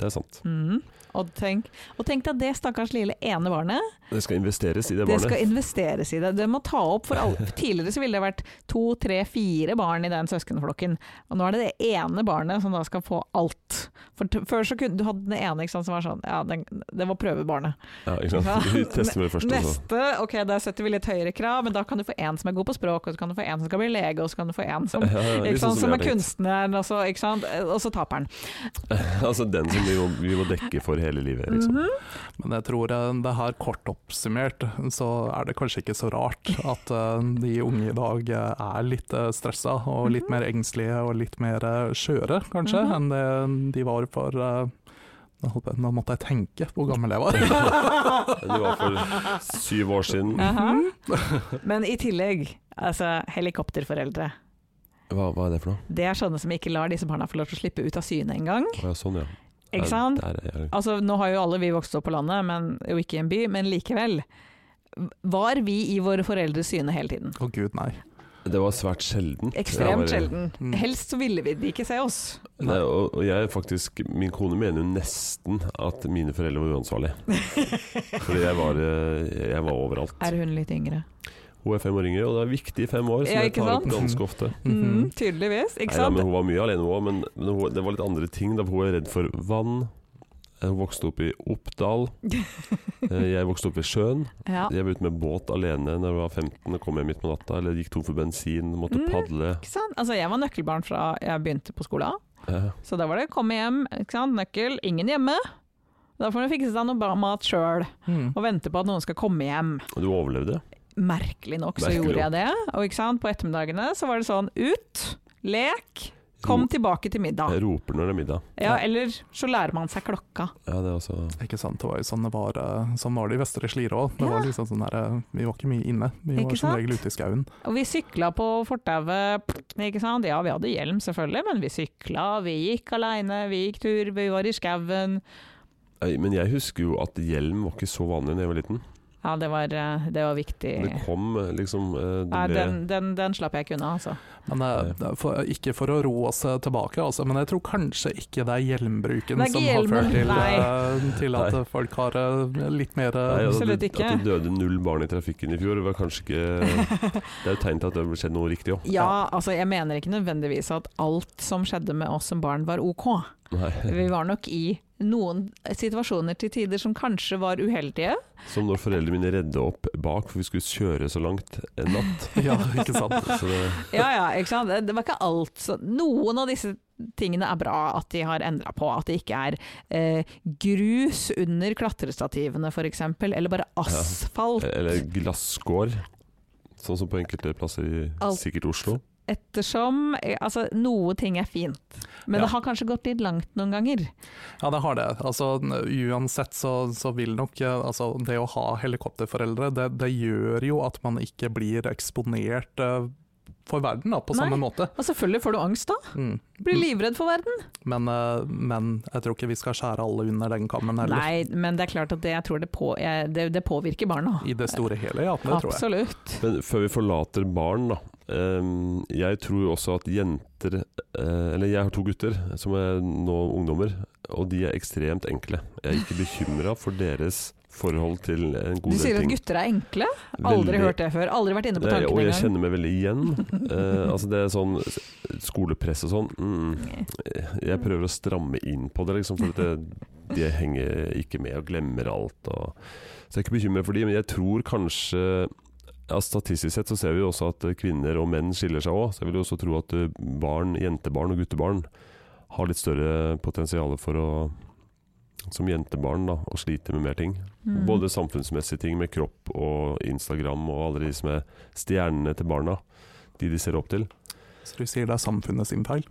A: Det er sant.
C: Mhm. Og, tenk, og tenk deg det stakkars lille ene barnet.
A: Det skal investeres i det
C: Det
A: barnet.
C: skal investeres i det. Det må ta opp for alle. for Tidligere så ville det vært to, tre, fire barn i den søskenflokken. Og nå er det det ene barnet som da skal få alt. For t før så kunne du hadde den ene ikke sant, som var sånn Ja, den, det var prøvebarnet.
A: Ja, ikke sant? Vi tester med det først, altså.
C: Neste, ok, der setter vi litt høyere krav, men da kan du få en som er god på språk, og så kan du få en som skal bli lege, og så kan du få en som
A: Ja, ja, litt
C: ikke sant,
A: sånn vi
C: som er
A: har tenkt.
C: kunstneren, og så, ikke sant? og så taperen.
A: Altså den som vi må, vi må dekke for hele livet, liksom.
B: Men jeg tror eh, det her kort oppsummert, så er det kanskje ikke så rart at eh, de unge i dag eh, er litt eh, stressa og
C: Mhm.
B: litt mer engstelige og litt mer eh, skjøre, kanskje, enn det de var for eh, nå holdt jeg- Nå måtte jeg tenke på hvor gammel jeg var.
A: Det var for
B: Mm.
A: syv år siden.
C: Mhm, Aha. Men i tillegg, altså helikopterforeldre.
A: Hva, hva er det for noe?
C: Det er sånne som ikke lar disse barna få lov til å slippe ut av syne engang.
A: Å, ja, sånn, ja.
C: Ikke sant?
A: Der, der er jeg.
C: Altså, nå har jo alle vi vokst opp på landet, men jo ikke i en by, men likevel. Var vi i våre foreldres syne hele tiden?
B: Å gud, nei.
A: Det var svært sjelden. Det var-
C: Ekstremt sjelden.
B: Mm.
C: Helst så ville vi de ikke se oss.
A: Nei, og, og jeg faktisk, min kone mener jo nesten at mine foreldre var uansvarlige. Fordi jeg var, eh, jeg var overalt.
C: Er hun litt yngre?
A: Hun er fem år yngre, og det er viktig i fem år, som
C: Ja,
A: jeg
C: ikke
A: tar opp
B: sant?
A: ganske ofte.
C: Mm,
B: Mhm.
C: tydeligvis, ikke
A: Neida,
C: sant?
A: men hun var mye alene hun òg, men, men hun, det var litt andre ting. Da, for hun er redd for vann. Eh, Hun vokste opp i Oppdal. Eh, Jeg vokste opp ved sjøen.
C: Ja,
A: Jeg var ute med båt alene da jeg var 15 og kom hjem midt på natta. Eller gikk tom for bensin, måtte
C: Mm.
A: padle.
C: ikke sant? Altså, jeg var nøkkelbarn fra jeg begynte på skolen.
A: Eh,
C: Så da var det komme hjem, ikke sant? nøkkel, ingen hjemme. Da får du fikse deg noe bra mat sjøl,
B: Mhm.
C: og vente på at noen skal komme hjem.
A: Og du overlevde.
C: Merkelig nok så
A: Merkelig
C: gjorde jeg det. Og ikke sant? på ettermiddagene så var det sånn ut, lek,
A: Mm.
C: kom tilbake til middag.
A: Jeg roper når det er middag.
C: Ja, eller så lærer man seg klokka.
A: Ja, det er også
B: Ikke sant, det var jo sånn det var, eh, sånn var det i Vestre Slidre òg. Det
C: Ja.
B: var liksom sånn der, eh, vi var ikke mye inne, vi
C: Ikke
B: var som
C: sant?
B: regel ute i skauen.
C: Og vi sykla på fortauet, ikke sant. Ja, vi hadde hjelm selvfølgelig, men vi sykla, vi gikk aleine, vi gikk tur, vi var i skauen.
A: Nei, Men jeg husker jo at hjelm var ikke så vanlig da jeg var liten.
C: Ja, det var, eh, det var viktig.
A: Det kom eh, liksom eh, det
C: Nei,
A: ble,
C: den, den, den slapp jeg ikke unna, altså.
B: Men det, det er for, ikke for å ro oss eh, tilbake, altså, men jeg tror kanskje ikke det er hjelmbruken
C: Det er ikke
B: som har
C: hjelmen,
B: ført til,
C: nei.
B: eh, til at
A: Nei.
B: eh, folk har eh, litt mer eh,
A: Nei, at
C: absolutt
A: det-
C: ikke.
A: At det døde null barn i trafikken i fjor, var kanskje ikke Det er jo tegn til at det har skjedd noe riktig òg.
C: Ja, altså jeg mener ikke nødvendigvis at alt som skjedde med oss som barn var ok.
A: Mm.
C: Vi var nok i noen situasjoner til tider som kanskje var uheldige.
A: Som når foreldrene mine redde opp bak, for vi skulle kjøre så langt en natt.
B: Ja, ikke sant.
A: Så det,
C: Ja, ja, ikke sant? Det- Det var ikke alt. Så noen av disse tingene er bra at de har endra på. At det ikke er eh, grus under klatrestativene f.eks., eller bare asfalt.
A: eller glasskår, sånn som på enkelte plasser i
C: Alt.
A: sikkert Oslo.
C: Ettersom eh, Altså, noe ting er fint. Men
B: Ja.
C: det har kanskje gått litt langt noen ganger.
B: Ja, det har det. Altså, uansett så, så vil nok eh, altså, det å ha helikopterforeldre, det, det gjør jo at man ikke blir eksponert eh, for verden da, på
C: Nei.
B: samme måte.
C: Og selvfølgelig får du angst da.
B: Mm.
C: Blir livredd for verden.
B: Men, eh, men jeg tror ikke vi skal skjære alle under den kammen heller.
C: Nei, men det er klart at det, jeg tror det, på, jeg, det, det påvirker barna.
B: I det store hele, ja. Det tror jeg.
C: Absolutt.
A: Men før vi forlater barn, da. ehm, jeg tror jo også at jenter eh, Eller jeg har to gutter som er nå ungdommer, og de er ekstremt enkle. Jeg er ikke bekymra for deres forhold til en
C: Du
A: god del
C: sier at
A: ting.
C: gutter er enkle. Aldri hørt det før. Aldri vært inne på
A: Nei, og
C: tankene
A: jeg
C: engang.
A: kjenner meg veldig igjen. Eh, altså det er sånn s- skolepress og sånn. Mm, jeg prøver å stramme inn på det, liksom, for at det, de henger ikke med og glemmer alt. Og, så jeg er ikke bekymret for de, men jeg tror kanskje ja, Statistisk sett så ser vi jo også at eh, kvinner og menn skiller seg òg. Så jeg vil jo også tro at eh, barn, jentebarn og guttebarn har litt større potensial for å som jentebarn da, å slite med mer ting.
C: Mm.
A: Både samfunnsmessige ting med kropp og Instagram og alle de som er stjernene til barna. De de ser opp til.
B: Så du sier det er samfunnet sin feil?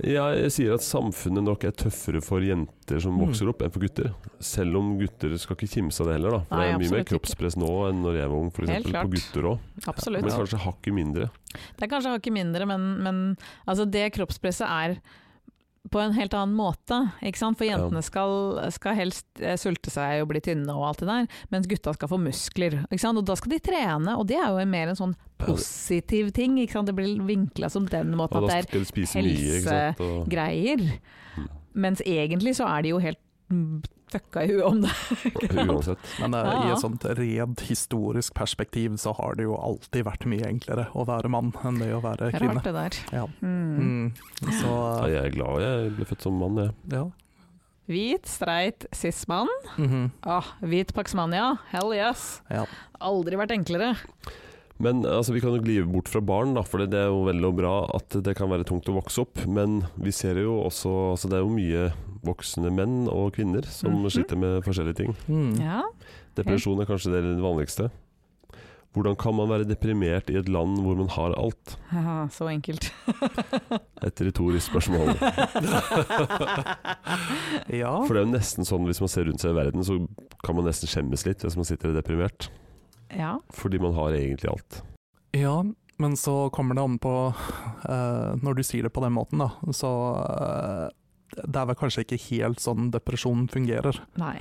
A: Ja, jeg sier at samfunnet nok er tøffere for jenter som
B: Mm.
A: vokser opp, enn for gutter. Selv om gutter skal ikke kimse av det heller, da. For
C: Nei,
A: det er mye mer
C: absolutt ikke.
A: kroppspress nå enn når jeg var ung,
C: Helt
A: f.eks.
C: klart.
A: På gutter òg.
C: Absolutt.
A: Men kanskje hakket mindre.
C: Det er kanskje hakket mindre, men, men altså det kroppspresset er på en helt annen måte. Ikke sant? For
A: Ja.
C: jentene skal, skal helst eh, sulte seg og bli tynne og alt det der, mens gutta skal få muskler. Ikke sant? Og da skal de trene, og det er jo en mer en sånn positiv ting. Ikke sant? Det blir vinkla som den måten
A: Og
C: at
A: da
C: det er
A: skal de spise mye, ikke sant. Og,
C: greier. Mens egentlig så er de jo helt mm, fucka i huet om det. ikke sant?
A: Uansett.
B: Men eh, i
C: Ja.
B: et sånt rent historisk perspektiv så har det jo alltid vært mye enklere å være mann enn det å være kvinne.
C: Rart det der.
B: Ja.
C: Mm.
B: Mm. Så
A: Ah, Ja, jeg er glad jeg ble født som mann, jeg.
B: ja.
C: Hvit, streit, cis-mann.
B: Mhm.
C: Ah, hvit Paxmania. Hell yes.
B: Ja.
C: Aldri vært enklere.
A: Men altså, vi kan jo gli bort fra barn, da, for det er jo veldig og bra at det kan være tungt å vokse opp. Men vi ser jo også altså, Det er jo mye voksne menn og kvinner som
C: Mhm.
A: sliter med forskjellige ting.
B: Mm.
C: Ja.
A: Depresjon er kanskje det vanligste. Hvordan kan man være deprimert i et land hvor man har alt?
C: Haha, så enkelt.
A: Et retorisk spørsmål.
B: ja.
A: For det er jo nesten sånn hvis man ser rundt seg i verden, så kan man nesten skjemmes litt hvis man sitter deprimert.
C: ja.
A: Fordi man har egentlig alt.
B: Ja, men så kommer det an på eh, Når du sier det på den måten, da, så eh, Det er vel kanskje ikke helt sånn depresjon fungerer.
C: Nei.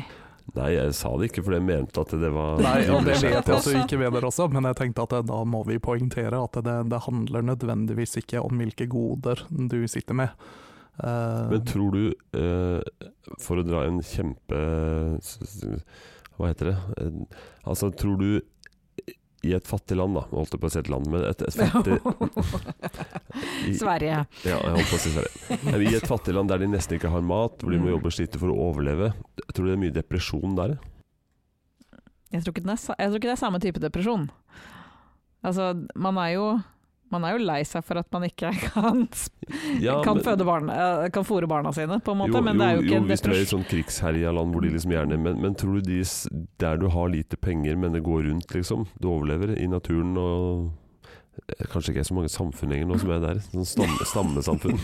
A: Nei, jeg sa det ikke fordi jeg mente at det var
B: Nei, og det
C: skjønner jeg.
B: vet jeg at du ikke mener også, men jeg tenkte at eh, da må vi poengtere at det, det handler nødvendigvis ikke om hvilke goder du sitter med. Eh,
A: Men tror du, eh, for å dra en kjempe s- s- Hva heter det? Eh, altså, tror du i et fattig land, da. Holdt jeg på å si et land, men et, et fattig i,
C: Sverige.
A: Ja, jeg holdt på å si Sverige. Nei, men I et fattig land der de nesten ikke har mat, hvor de må
C: Mm.
A: jobbe og slite for å overleve. Tror du det er mye depresjon der?
C: Jeg tror, ikke den er, sa- jeg tror ikke det er samme type depresjon. Altså, man er jo man er jo lei seg for at man ikke kan,
A: Ja,
C: kan,
A: men-
C: føde barn, eh, kan fôre barna sine, på en måte. men det er jo ikke
A: jo,
C: en
A: hvis du er i et
C: depresjon.
A: sånn krigsherja land hvor de liksom gjerne men, men tror du de s- der du har lite penger, men det går rundt, liksom? Du overlever i naturen og eh, Kanskje ikke er så mange samfunn lenger nå som er der. Sånn stamme, stammesamfunn.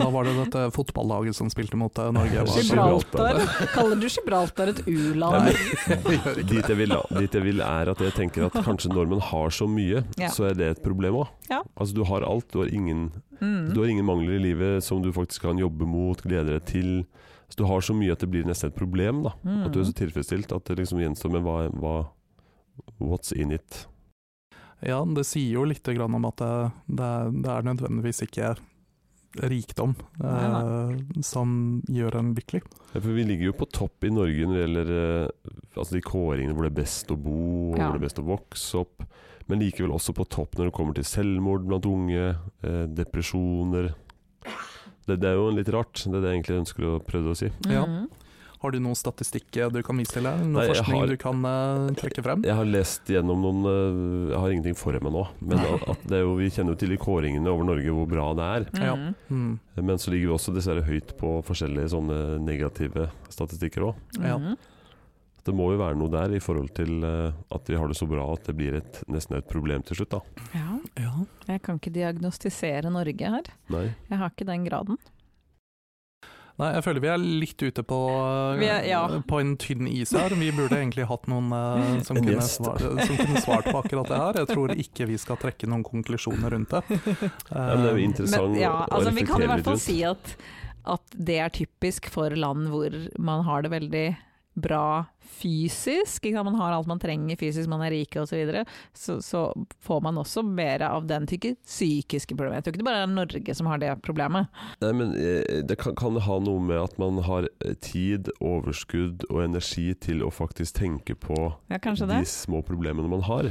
B: Da var det dette fotballaget som spilte mot eh, Norge.
A: Var
C: Gibraltar.
A: Gibraltar.
C: Kaller du Gibraltar et
A: Nei,
C: u-land?
B: Gibraltar.
A: Dit jeg, vil, da- dit jeg vil er at jeg tenker at kanskje når man har så mye,
C: Ja.
A: så er det et problem òg.
C: Ja.
A: Altså, du har alt. Du har, ingen, du
C: Mm.
A: har ingen mangler i livet som du faktisk kan jobbe mot, glede deg til. Så du har så mye at det blir nesten et problem. da
C: Mm.
A: At du er så tilfredsstilt at det liksom gjenstår med hva, hva What's in it?
B: Ja, det sier jo litt grann om at det, det, er, det er nødvendigvis ikke rikdom
C: Nei,
B: eh, som gjør en lykkelig.
A: Ja, for vi ligger jo på topp i Norge når det gjelder eh, altså de kåringene hvor det er best å bo, og
C: Ja.
A: hvor det er best å vokse opp. Men likevel også på topp når det kommer til selvmord blant unge, eh, depresjoner det, det er jo litt rart, det er det jeg egentlig ønsker å prøve å si.
B: Ja.
C: Mm.
B: Har du noen statistikk eh, du kan vise til her? Noen
A: Nei, jeg
B: forskning
A: har-
B: du kan eh, trekke frem?
A: Jeg har lest gjennom noen eh, Jeg har ingenting for meg nå, men
B: Nei.
A: at, at det er jo, vi kjenner jo til de kåringene over Norge hvor bra det er.
B: Ja.
C: Mm.
B: Mm.
A: Men så ligger vi også dessverre høyt på forskjellige sånne negative statistikker òg.
B: Ja.
C: Mm.
A: Det må jo være noe der i forhold til eh, at vi har det så bra at det blir et, nesten et problem til slutt, da.
C: ja.
B: Ja.
C: Jeg kan ikke diagnostisere Norge her.
A: Nei.
C: Jeg har ikke den graden.
B: Nei, jeg føler vi er litt ute på, eh,
C: Vi er- ja.
B: på en tynn is her. Vi burde egentlig hatt noen eh, som,
A: En
B: kunne
A: gjest.
B: svart, som kunne svart på akkurat det her. Jeg tror ikke vi skal trekke noen konklusjoner rundt det. Eh,
A: Ja, men det er jo interessant
C: Eh, Men, ja,
A: å
C: altså, vi kan i
A: reflektere
C: hvert
A: litt
C: fall
A: rundt.
C: si at, at det er typisk for land hvor man har det veldig bra fysisk. Ikke sant? Man har alt man trenger fysisk, man er rike osv. Så, videre. så så får man også mer av den type psykiske problemer. Jeg tror ikke det bare er Norge som har det problemet.
A: Nei, men eh, det kan, kan det ha noe med at man har eh, tid, overskudd og energi til å faktisk tenke på
C: Ja, kanskje
A: de
C: det.
A: små problemene man har.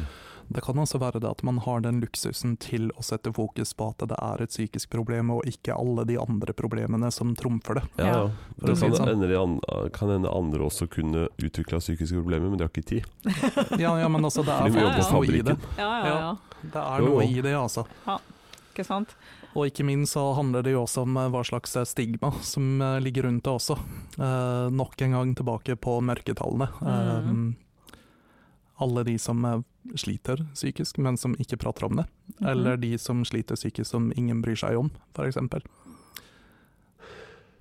B: Det kan også være det at man har den luksusen til å sette fokus på at det er et psykisk problem, og ikke alle de andre problemene som trumfer det.
A: Ja,
C: Ja,
A: ja.
B: for å
A: Det
B: si
A: kan
B: det sånn.
A: hende de an- kan hende andre også kunne utvikle psykiske problemer, men de har ikke tid.
B: Ja, ja men altså, det
A: For
B: er
A: de må
C: Ja,
A: jobbe på
B: faktisk noe i det.
A: fabrikken.
C: Ja, ja, ja.
B: Det er
A: Jo, jo.
B: noe i det, altså.
C: Ikke sant?
B: Og ikke minst så handler det jo også om eh, hva slags eh, stigma som eh, ligger rundt det også. Eh, nok en gang tilbake på mørketallene. Eh,
A: Mhm.
C: Mm.
B: alle de som eh, sliter psykisk, men som ikke prater om det.
C: Mhm.
B: Eller de som sliter psykisk som ingen bryr seg om, f.eks.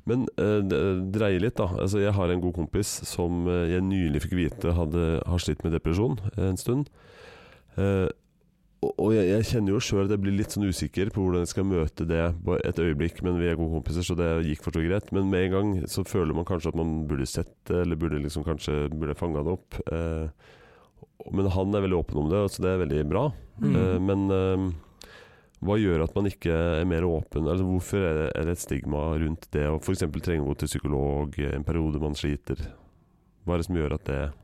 A: Men eh, det- dreie litt, da. Altså, jeg har en god kompis som eh, jeg nylig fikk vite hadde, har slitt med depresjon en stund. Eh, og og jeg, jeg kjenner jo sjøl at jeg blir litt sånn usikker på hvordan jeg skal møte det på et øyeblikk, men vi er gode kompiser, så det gikk for så greit. Men med en gang så føler man kanskje at man burde sett det, eller burde liksom kanskje burde fanga det opp. Eh, men han er veldig åpen om det, så det er veldig bra.
B: Mm.
A: Eh, men eh, Hva gjør at man ikke er mer åpen? Altså, hvorfor er det, er det et stigma rundt det å f.eks. trenge å gå til psykolog i en periode man sliter? Hva er det som gjør at det er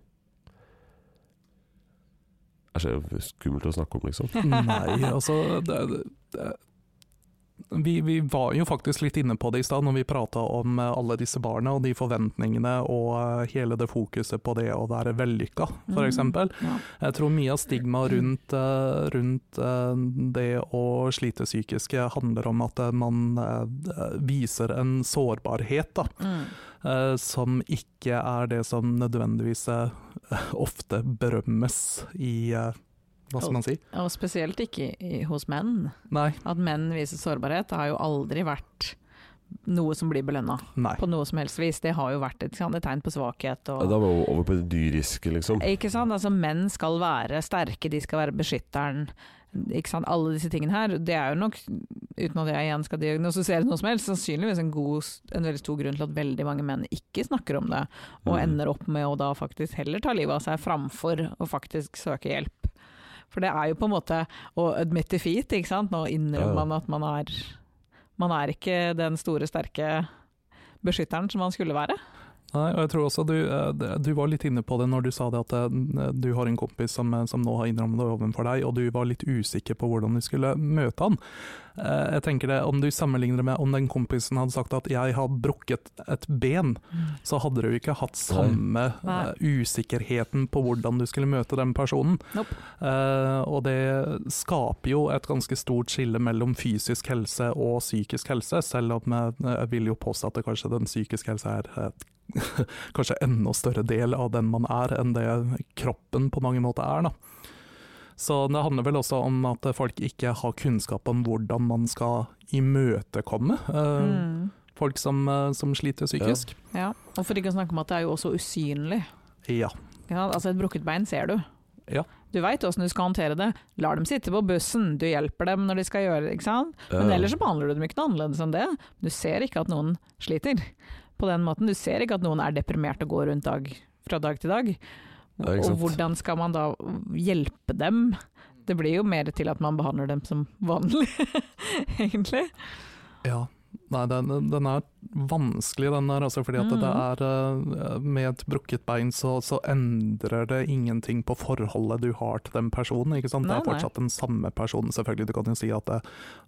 A: så skummelt å snakke om, liksom?
C: Mm.
B: Nei, altså det, det, det, vi, vi var jo faktisk litt inne på det i stad, når vi prata om eh, alle disse barna og de forventningene og eh, hele det fokuset på det å være vellykka,
C: Mm.
B: f.eks.
C: Ja.
B: Jeg tror mye av stigmaet rundt, eh, rundt eh, det å slite psykisk eh, handler om at eh, man eh, viser en sårbarhet, da
C: Mm.
B: eh, som ikke er det som nødvendigvis eh, ofte berømmes i eh, Hva skal man si?
C: Og spesielt ikke i, hos menn.
B: Nei.
C: At menn viser sårbarhet, det har jo aldri vært noe som blir belønna
B: nei.
C: på noe som helst vis. Det har jo vært et, ikke sant, et tegn på svakhet.
A: Ja,
C: Og,
A: Da var vi over på det dyriske, liksom.
C: Ikke sant? Altså, menn skal være sterke, de skal være beskytteren. Ikke sant? Alle disse tingene her. Det er jo nok, uten at jeg igjen skal diagnostisere noe som helst, sannsynligvis en, god, en veldig stor grunn til at veldig mange menn ikke snakker om det, og
A: Mm.
C: ender opp med å da faktisk heller ta livet av seg framfor å faktisk søke hjelp. For det er jo på en måte å admit defeat, ikke sant. Nå
A: Ja, ja.
C: innrømmer man at man er Man er ikke den store, sterke beskytteren som man skulle være.
B: Nei, og jeg tror også du, eh, det- du var litt inne på det når du sa det at eh, du har en kompis som, eh, som nå har innrømmet det overfor deg, og du var litt usikker på hvordan du skulle møte han. Eh, Jeg tenker det, Om du sammenligner det med om den kompisen hadde sagt at 'jeg har brukket et ben',
A: Mm.
B: så hadde du ikke hatt samme
C: Nei.
B: eh, usikkerheten på hvordan du skulle møte den personen.
C: Nope.
B: Eh, Og det skaper jo et ganske stort skille mellom fysisk helse og psykisk helse, selv om eh, jeg vil jo påstå at det kanskje den psykiske helsa er et kanskje enda større del av den man er, enn det kroppen på mange måter er. Da. Så det handler vel også om at folk ikke har kunnskap om hvordan man skal imøtekomme eh,
C: Mm.
B: folk som, eh, som sliter psykisk.
C: Ja, og for ikke å snakke om at det er jo også usynlig.
B: Ja.
C: Ja, altså et brukket bein ser du.
B: Ja.
C: Du veit åssen du skal håndtere det. Lar dem sitte på bussen, du hjelper dem når de skal gjøre det, ikke sant. Men ellers så behandler du dem ikke noe annerledes enn det. Du ser ikke at noen sliter på den måten. Du ser ikke at noen er deprimert og går rundt dag, fra dag til dag.
A: Ja, ikke
C: og
A: sant.
C: hvordan skal man da hjelpe dem? Det blir jo mer til at man behandler dem som vanlig, egentlig.
B: ja. Nei, den, den er vanskelig, den der, altså, fordi at det
C: Mhm.
B: er eh, Med et brukket bein så, så endrer det ingenting på forholdet du har til den personen. ikke sant?
C: Nei,
B: det er
C: nei.
B: fortsatt den samme personen, selvfølgelig. Du kan jo si at det,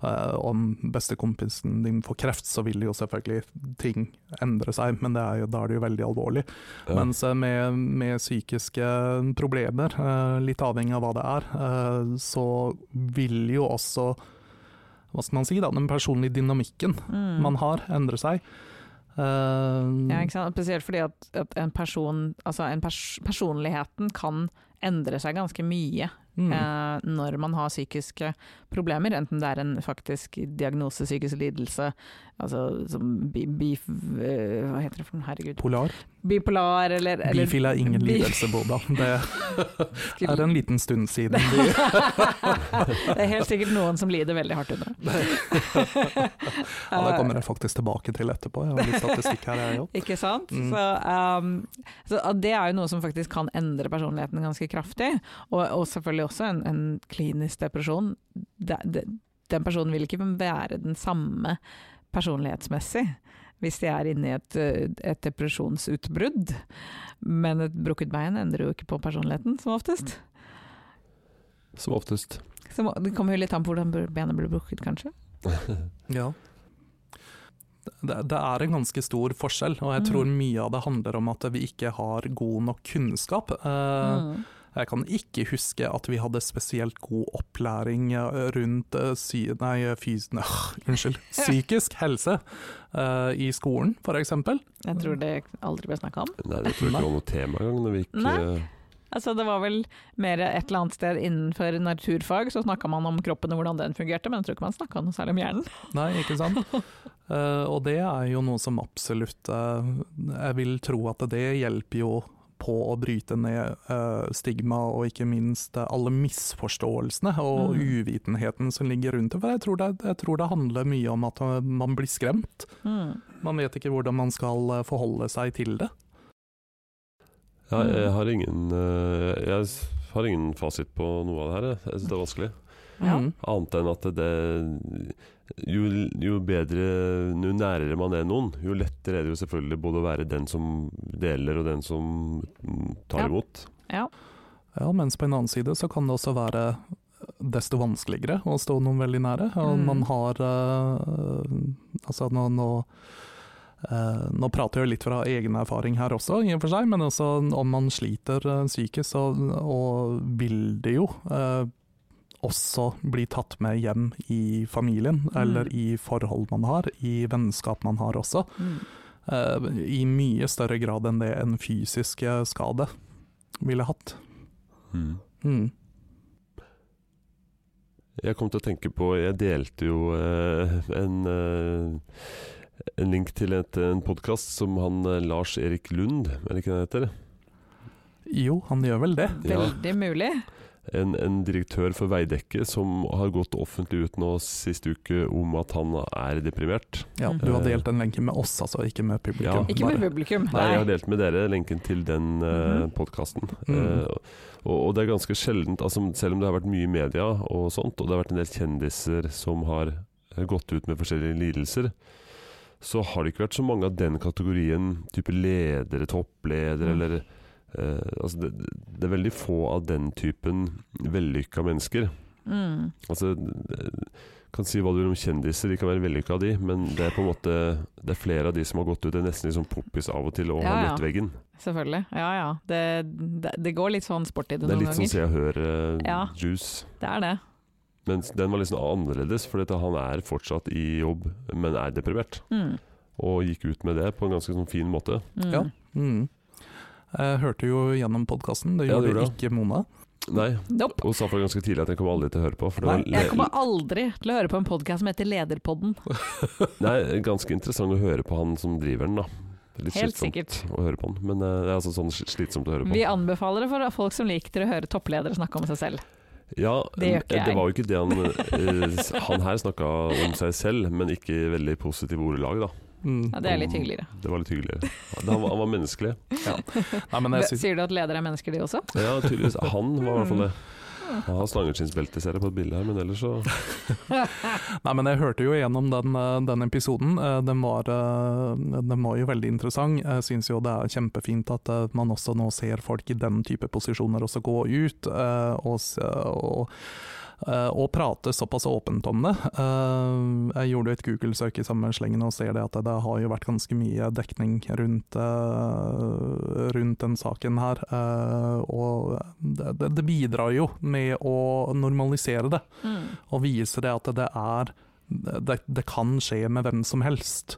B: eh, om bestekompisen din får kreft, så vil jo selvfølgelig ting endre seg, men det er jo, da er det jo veldig alvorlig.
A: Ja.
B: Mens eh, med, med psykiske problemer, eh, litt avhengig av hva det er, eh, så vil jo også hva skal man si da, den personlige dynamikken
C: Mm.
B: man har, endre seg. Eh,
C: Ja, ikke sant? Spesielt fordi at, at en person, altså en pers personligheten kan endre seg ganske mye
B: mm,
C: eh, når man har psykiske problemer, enten det er en faktisk diagnose, psykisk lidelse, altså som bi, bi, eh, hva heter det for noe, herregud,
B: Polar.
C: bipolar eller, eller
B: Bifil er ingen
C: bi-
B: lidelse, Boda. Det er en liten stund siden. vi-
C: det er helt sikkert noen som lider veldig hardt under det.
B: Ja, det kommer jeg faktisk tilbake til etterpå. Jeg har litt statistikk her, jeg òg.
C: Ikke sant?
B: Mm.
C: Så, um, så at det er jo noe som faktisk kan endre personligheten ganske kraftig. Og, og selvfølgelig også en, en klinisk depresjon. Det, det, den personen vil ikke være den samme personlighetsmessig hvis de er inne i et, eh, et depresjonsutbrudd. Men et brukket bein endrer jo ikke på personligheten, som oftest.
A: Som oftest.
C: Så må- det kommer jo litt an på hvordan benet blir brukket, kanskje.
B: Ja. Det, det er en ganske stor forskjell, og jeg tror
C: Mm.
B: mye av det handler om at vi ikke har god nok kunnskap. Eh,
C: Mm.
B: Jeg kan ikke huske at vi hadde spesielt god opplæring eh, rundt eh, sy nei, fys nei, unnskyld, psykisk helse eh, i skolen, f.eks.
C: Jeg tror det aldri ble snakka om.
A: Nei, det tror jeg ikke var noe tema engang når vi gikk
C: Nei.
A: eh,
C: Altså, det var vel mer et eller annet sted innenfor naturfag, så snakka man om kroppen og hvordan den fungerte, men jeg tror ikke man snakka noe særlig om hjernen.
B: Nei, ikke sant? Eh, og det er jo noe som absolutt eh, Jeg vil tro at det hjelper jo på å bryte ned eh, stigma og ikke minst eh, alle misforståelsene og
C: Mm.
B: uvitenheten som ligger rundt det. For jeg tror det, jeg tror det handler mye om at eh, man blir skremt.
A: Hmm.
B: Man vet ikke hvordan man skal eh, forholde seg til det.
A: Ja,
C: Mm.
A: jeg har ingen eh, Jeg s- har ingen fasit på noe av det her. jeg. Jeg synes det er vanskelig.
C: Ja.
B: Mm.
A: Annet enn at det jo, jo bedre, jo nærere man er noen, jo lettere er det jo selvfølgelig både å være den som deler og den som mm, tar
C: Ja.
A: imot.
C: Ja.
B: Ja, mens på en annen side så kan det også være eh, desto vanskeligere å stå noen veldig nære. Og
C: Mm.
B: man har eh, Altså nå, nå, eh, nå prater jeg litt fra egen erfaring her også, i og for seg, men også om man sliter eh, psykisk, så og vil det jo eh, også bli tatt med hjem i familien, eller
C: Mm.
B: i forhold man har, i vennskap man har også.
C: Mm.
B: eh, I mye større grad enn det en fysisk eh, skade ville hatt. Mm.
A: Jeg kom til å tenke på Jeg delte jo eh, en, eh, en link til et, en podkast som han eh, Lars Erik Lund, er det ikke det han heter?
B: Jo, han gjør vel det.
A: Ja.
C: Veldig mulig.
A: en, en direktør for Veidekke som har gått offentlig ut nå sist uke om at han er deprimert.
B: Ja, Du har delt en lenke med oss, altså, ikke med publikum.
A: Ja.
C: Ikke med
B: Bare-
C: publikum.
A: Nei, jeg har delt med dere lenken til den uh,
C: Mhm.
A: podkasten.
B: Mm.
A: og, og det er ganske sjeldent, altså, selv om det har vært mye i media og sånt, og det har vært en del kjendiser som har eh, gått ut med forskjellige lidelser, så har det ikke vært så mange av den kategorien, type ledere, toppledere
C: Mm.
A: eller eh, altså det, det er veldig få av den typen vellykka mennesker.
C: Mm.
A: Altså, eh, kan si hva du vil om kjendiser, de kan være vellykka de, men det er på en måte Det er flere av de som har gått ut. Det er nesten litt sånn poppis av og til og
C: Ja,
A: har
C: ja.
A: møtt veggen.
C: Selvfølgelig. Ja ja. Det, det, det går litt sånn sport i det
A: Det er
C: noen
A: litt sånn
C: ganger.
A: Se og
C: Ja.
A: Hør-juice.
C: Det er det.
A: Men den var liksom annerledes, for dette, han er fortsatt i jobb, men er deprimert.
C: Mm.
A: Og gikk ut med det på en ganske sånn fin måte.
C: Mm.
B: Ja. Mm. Jeg hørte jo gjennom podkasten, det
A: Ja,
B: gjorde
A: det gjorde
B: ikke Mona.
A: Nei,
C: Nope.
A: og sa fra ganske tidlig at jeg kommer aldri til å høre på. For det
B: Nei,
A: var le-
C: Jeg kommer aldri til å høre på en podkast som heter Lederpodden.
A: nei, ganske interessant å høre på han som driver den, da. Litt
C: Helt
A: slitsomt
C: sikkert.
A: å høre på han, men eh, det er altså sånn sl- slitsomt å høre på.
C: Vi anbefaler det for folk som liker å høre toppledere snakke om seg selv.
A: Ja,
C: Det gjør ikke
A: eh,
C: jeg.
A: det var jo ikke det han eh, s- Han her snakka om seg selv, men ikke i veldig positive ordelag, da.
B: Mm.
C: Ja, det er litt
A: Om-
C: hyggeligere.
A: Det var litt hyggeligere. Han var, han var menneskelig.
B: Nei, men jeg synes,
C: Sier du at ledere er mennesker, de også?
A: Ja, tydeligvis. Han var i hvert fall det. Han har slangeskinnsbelte, ser jeg på et bilde her, men ellers så
B: Nei, men jeg hørte jo gjennom den, eh, den episoden. Eh, Den var, eh, den var jo veldig interessant. Jeg syns jo det er kjempefint at eh, man også nå ser folk i den type posisjoner også gå ut eh, og, s- og, eh, og prate såpass åpent om det. Eh, Jeg gjorde jo et Google-søk i samme slengen og ser det at det har jo vært ganske mye dekning rundt, eh, rundt den saken her. eh, Og det, det- det bidrar jo med å normalisere det
C: Mm.
B: og vise det at det er det, det kan skje med hvem som helst.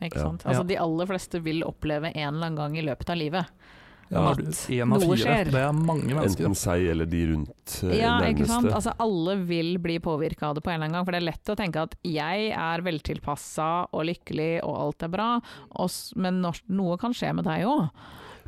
C: Ikke
A: Ja.
C: sant? Altså,
B: Ja.
C: De aller fleste vil oppleve en eller annen gang i løpet av livet.
A: Ja,
C: At
B: En av fire.
C: noe skjer.
B: Det er mange mennesker.
A: enten seg eller de rundt eh,
C: Ja, ikke sant?
A: nærmeste.
C: Altså, alle vil bli påvirka av det på en eller annen gang. For det er lett å tenke at jeg er veltilpassa og lykkelig og alt er bra, og s- men når- noe kan skje med deg òg.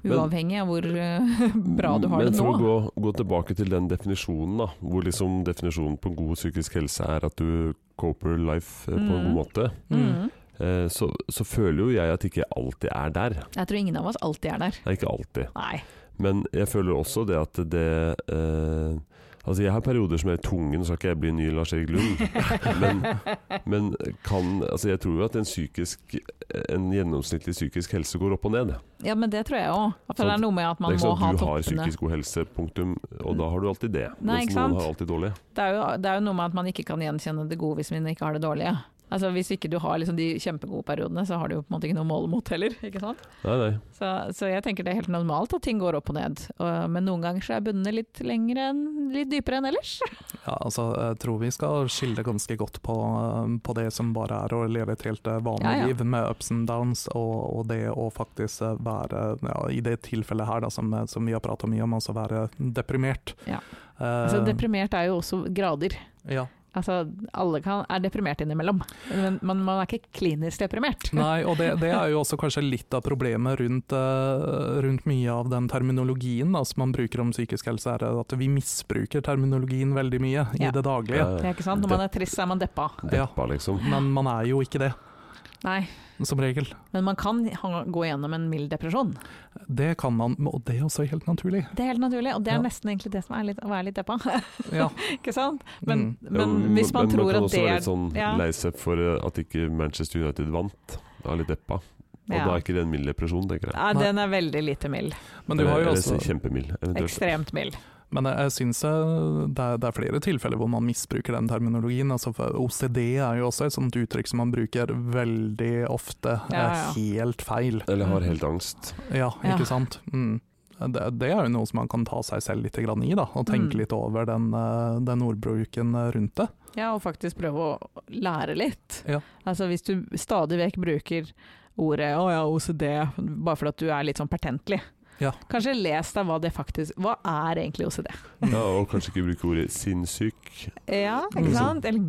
A: Men-
C: Uavhengig av hvor eh, bra du har
A: men
C: det
A: for å
C: nå.
A: gå, gå tilbake til den definisjonen, da, hvor liksom definisjonen på god psykisk helse er at du coper life eh, på en
C: Mm.
A: god måte,
B: Mm.
C: Mm.
A: eh, så, så føler jo jeg at ikke jeg alltid er der.
C: Jeg tror ingen av oss alltid er der.
A: Nei, ikke alltid.
C: Nei.
A: Men jeg føler også det at det eh, Altså, jeg har perioder som er i tungen, så skal ikke jeg bli ny Lars Erik Lund. Men, men kan Altså, jeg tror jo at en psykisk En gjennomsnittlig psykisk helse går opp og ned.
C: Ja, men det tror jeg òg. For det er
A: Sant.
C: noe med at
A: det
C: man
A: er ikke
C: må
A: sånn
C: ha
A: at du har
C: toppene.
A: psykisk god helse, punktum, og da har du alltid det.
C: Nei,
A: mens
C: ikke sant?
A: noen har alltid dårlig.
C: Det er, jo, det er jo noe med at man ikke kan gjenkjenne det gode hvis man ikke har det dårlige. Altså Hvis ikke du har liksom de kjempegode periodene, så har du jo på en måte ikke noe å måle mot heller. ikke sant?
A: Nei, nei.
C: Så, så jeg tenker det er helt normalt at ting går opp og ned. Og, men noen ganger så er bunnene litt lengre enn litt dypere enn ellers.
B: Ja, altså, jeg tror vi skal skille ganske godt på, eh, på det som bare er å leve et helt eh, vanlig
C: Ja, ja.
B: liv med ups and downs, og, og det å faktisk eh, være, ja, i det tilfellet her da, som, eh, som vi har prata mye om, altså være deprimert.
C: Ja.
B: Eh,
C: Altså Deprimert er jo også grader.
B: ja.
C: Altså Alle kan, er deprimert innimellom, men man, man er ikke klinisk deprimert.
B: Nei, og det, det er jo også kanskje litt av problemet rundt, eh, rundt mye av den terminologien da, som man bruker om psykisk helse, er at vi misbruker terminologien veldig mye i
C: Ja.
B: det daglige.
C: Det er ikke sant? Når man er trist, så er man deppa.
A: Deppa, liksom.
B: Men man er jo ikke det.
C: Nei,
B: som regel.
C: men man kan ha- gå gjennom en mild depresjon.
B: Det kan man, og det er også helt naturlig.
C: Det er helt naturlig, og det
B: Ja.
C: er nesten egentlig det som er litt, å være litt deppa.
B: Ja. Mm.
C: Ikke sant? Men,
A: Ja,
C: men hvis man
A: men
C: tror
A: kan
C: at
A: også
C: det
A: være
C: er
A: litt sånn
C: ja.
A: lei seg for eh, at ikke Manchester United vant. Da er litt deppa. Og
C: ja.
A: da er ikke det en mild depresjon, tenker jeg.
C: Nei, den er veldig lite mild.
B: Men du har jo
A: Eller-
B: også
A: eller Kjempemild, eventuelt.
C: Ekstremt mild.
B: Men jeg, jeg syns jeg- det, er- det er flere tilfeller hvor man misbruker den terminologien. Altså for OCD er jo også et sånt uttrykk som man bruker veldig ofte.
C: Ja,
B: eh,
C: ja.
B: Helt feil.
A: Eller har
C: Mm.
A: helt angst.
B: Ja,
C: Ja.
B: ikke sant. Mm. Det, det er jo noe som man kan ta seg selv litt grann i, da, og tenke
C: Mm.
B: litt over den, eh, den ordbruken eh, rundt det.
C: Ja, og faktisk prøve å lære litt.
B: Ja.
C: Altså hvis du stadig vekk bruker ordet 'å ja, OCD' bare fordi at du er litt sånn pertentlig.
B: Ja.
C: Kanskje les deg hva det faktisk Hva er egentlig OCD?
A: Ja, og kanskje ikke bruke ordet sinnssyk,
C: Ja, ikke
B: Mm.
C: sant? Eller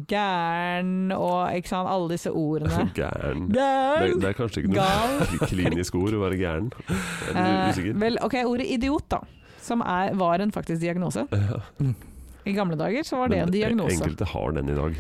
C: gæren og ikke sant, alle disse ordene.
A: gæren. Det,
C: Gæren!
A: det er kanskje ikke noe
C: Gal!
A: klinisk ord å være gæren. Er du
C: Eh,
A: usikker?
C: vel, ok, ordet idiot, da. Som er, var en faktisk diagnose.
A: Ja.
C: I gamle dager så var det
A: Men
C: en diagnose.
A: Enkelte har den i dag.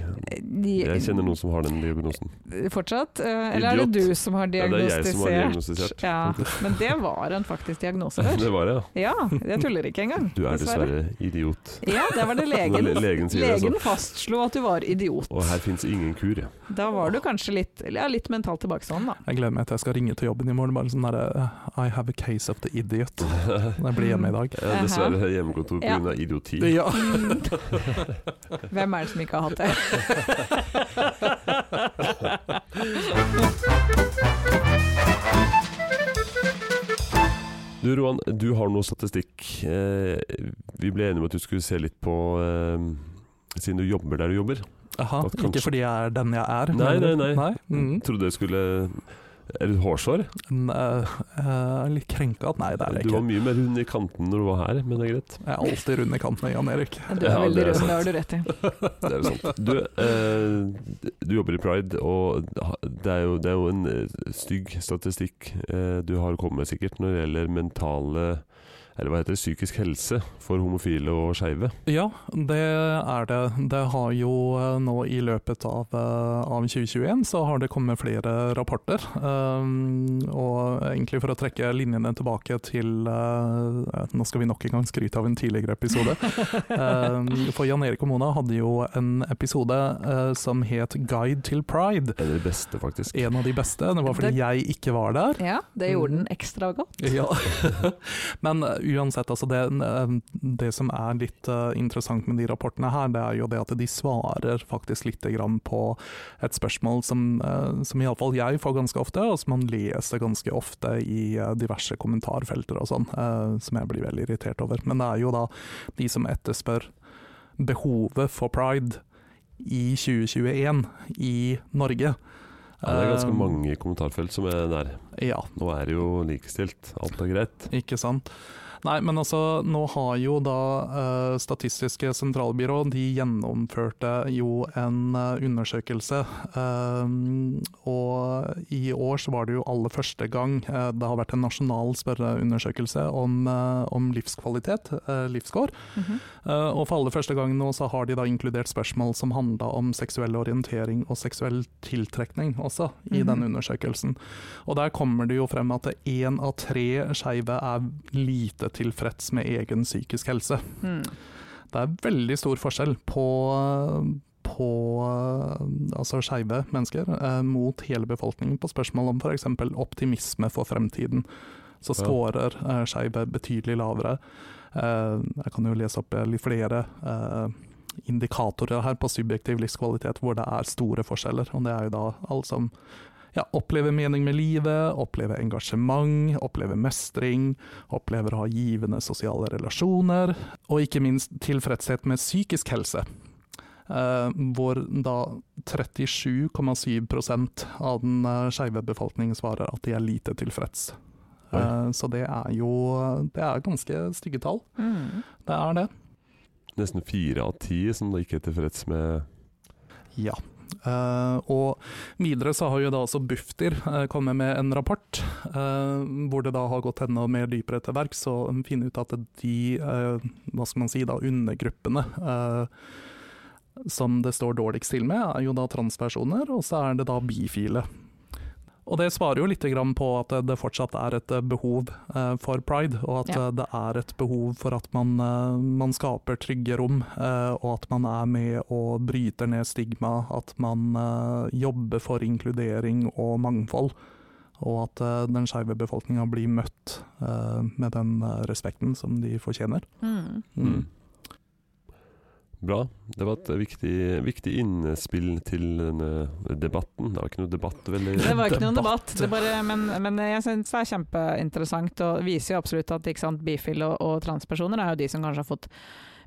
C: De-
A: Jeg kjenner noen som har den diagnosen.
C: Fortsatt? eh, Eller er det
A: Idiot.
C: du som har
A: Ja, det er
C: diagnostisert?
A: jeg som har diagnostisert.
C: Ja, men det var en faktisk diagnose før.
A: Det var det, ja.
C: Ja, jeg tuller ikke engang.
A: Du er dessverre idiot.
C: Ja, der var det
A: Når le-
C: legen.
A: legen sier det, altså.
C: Legen
A: så.
C: fastslo at du var idiot.
A: Og her fins ingen kur, ja.
C: Da var du kanskje litt, ja, litt mentalt tilbakestående, da.
B: Jeg gleder meg til jeg skal ringe til jobben i morgen. bare sånn der, I have a case of the idiot. Når jeg blir hjemme i dag.
A: Ja, Dessverre hjemmekontor
C: Ja.
A: pga. idioti.
B: Ja.
C: Hvem er det som ikke har hatt det?
A: Du Roan, du har noe statistikk. Eh, vi ble enige om at du skulle se litt på eh, Siden du jobber der du jobber.
B: Aha,
A: At kanskje-
B: ikke fordi jeg er den jeg er.
A: Nei,
B: mener du?
A: nei, nei.
B: Mm.
A: Trodde jeg skulle Er du hårsår?
B: Nei, Jeg er eh, litt krenka at nei, det er jeg
A: Du var
B: ikke.
A: mye mer rund i kanten når du var her, men det er greit.
B: Jeg er alltid rund i kanten, Jan Erik.
C: Du er
A: Ja,
C: veldig
A: det er
C: rød,
A: sant.
C: det har du rett i.
A: Det er jo sant. Du, eh, du jobber i Pride, og det er jo, det er jo en eh, stygg statistikk eh, du har kommet med sikkert når det gjelder mentale eller hva heter det, psykisk helse for homofile og skeive.
B: Ja, det er det. Det har jo eh, nå i løpet av, eh, av 2021 så har det kommet flere rapporter. Um, og egentlig for å trekke linjene tilbake til eh, Nå skal vi nok en gang skryte av en tidligere episode. Um, for Jan Erik og Mona hadde jo en episode eh, som het 'Guide til Pride'.
A: Det er det beste, faktisk.
B: En av de beste. Det var fordi
C: Det-
B: jeg ikke var der.
C: Ja, det gjorde
A: Mm.
C: den ekstra godt.
B: Ja. Men eh, uansett, altså det, eh, det som er litt eh, interessant med de rapportene her, det er jo det at de svarer faktisk litt grann på et spørsmål som, eh, som iallfall jeg får ganske ofte, og som man leser ganske ofte i eh, diverse kommentarfelter og sånn, eh, som jeg blir veldig irritert over. Men det er jo da de som etterspør behovet for pride i 2021 i Norge.
A: Ja, det er ganske
B: Eh,
A: mange kommentarfelt som er der.
B: Ja.
A: Nå er det jo likestilt. Alt er greit.
B: Ikke sant. Nei, men altså, nå har jo da eh, Statistiske sentralbyrå de gjennomførte jo en eh, undersøkelse. eh, og i år så var det jo aller første gang eh, det har vært en nasjonal spørreundersøkelse om, eh, om livskvalitet, eh, livskår.
C: Mhm.
B: Eh, og for aller første gang nå så har de da inkludert spørsmål som handla om seksuell orientering og seksuell tiltrekning også, i
C: Mhm.
B: den undersøkelsen. Og der kommer det jo frem at én av tre skeive er lite tilfreds med egen psykisk helse.
C: Mm.
B: Det er veldig stor forskjell på på eh, altså skeive mennesker eh, mot hele befolkningen på spørsmål om f.eks. optimisme for fremtiden. Så
A: Ja.
B: scorer eh, skeive betydelig lavere. Eh, jeg kan jo lese opp eh, litt flere eh, indikatorer her på subjektiv livskvalitet hvor det er store forskjeller. Og det er jo da alle som ja, opplever mening med livet, opplever engasjement, opplever mestring, opplever å ha givende sosiale relasjoner, og ikke minst tilfredshet med psykisk helse. Eh, hvor da 37,7 av den eh, skeive befolkningen svarer at de er lite tilfreds.
A: Oi.
B: Eh, så det er jo Det er ganske stygge tall.
C: Mm.
B: Det er det.
A: Nesten fire av ti som da ikke er tilfreds med
B: Ja. Eh, og videre så har jo da også Bufdir eh, kommet med en rapport, eh, hvor det da har gått enda mer dypere til verks og finne ut at de, eh, hva skal man si, da undergruppene eh, som det står dårligst til med, er jo da transpersoner, og så er det da bifile. Og det svarer jo litt grann på at det fortsatt er et behov eh, for pride, og at
C: Ja.
B: eh, det er et behov for at man, eh, man skaper trygge rom, eh, og at man er med og bryter ned stigma, at man eh, jobber for inkludering og mangfold, og at eh, den skeive befolkninga blir møtt eh, med den eh, respekten som de fortjener.
C: Mm.
A: Mm. Bra. Det var et viktig, viktig innespill til denne debatten. Det var ikke noe debatt, veldig.
C: Det var ikke noen
B: Debatt.
C: debatt, det bare, men, men jeg syns det er kjempeinteressant og viser jo absolutt at ikke sant, bifil og, og transpersoner er jo de som kanskje har fått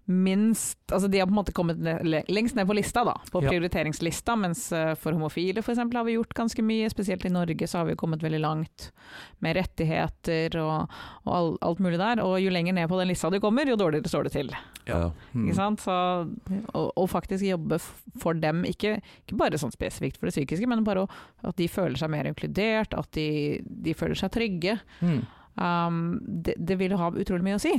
C: minst Altså de har på en måte kommet ned, le- lengst ned på lista, da, på
B: Ja.
C: prioriteringslista, mens eh, for homofile f.eks. har vi gjort ganske mye, spesielt i Norge så har vi jo kommet veldig langt med rettigheter og, og all, alt mulig der. Og jo lenger ned på den lista du kommer, jo dårligere står det til.
A: Ja.
B: Mm.
C: Ikke sant? Så, og, og faktisk jobbe f- for dem, ikke, ikke bare sånn spesifikt for det psykiske, men bare å- at de føler seg mer inkludert, at de, de føler seg trygge.
B: Mm.
C: Um, det, det vil ha utrolig mye å si.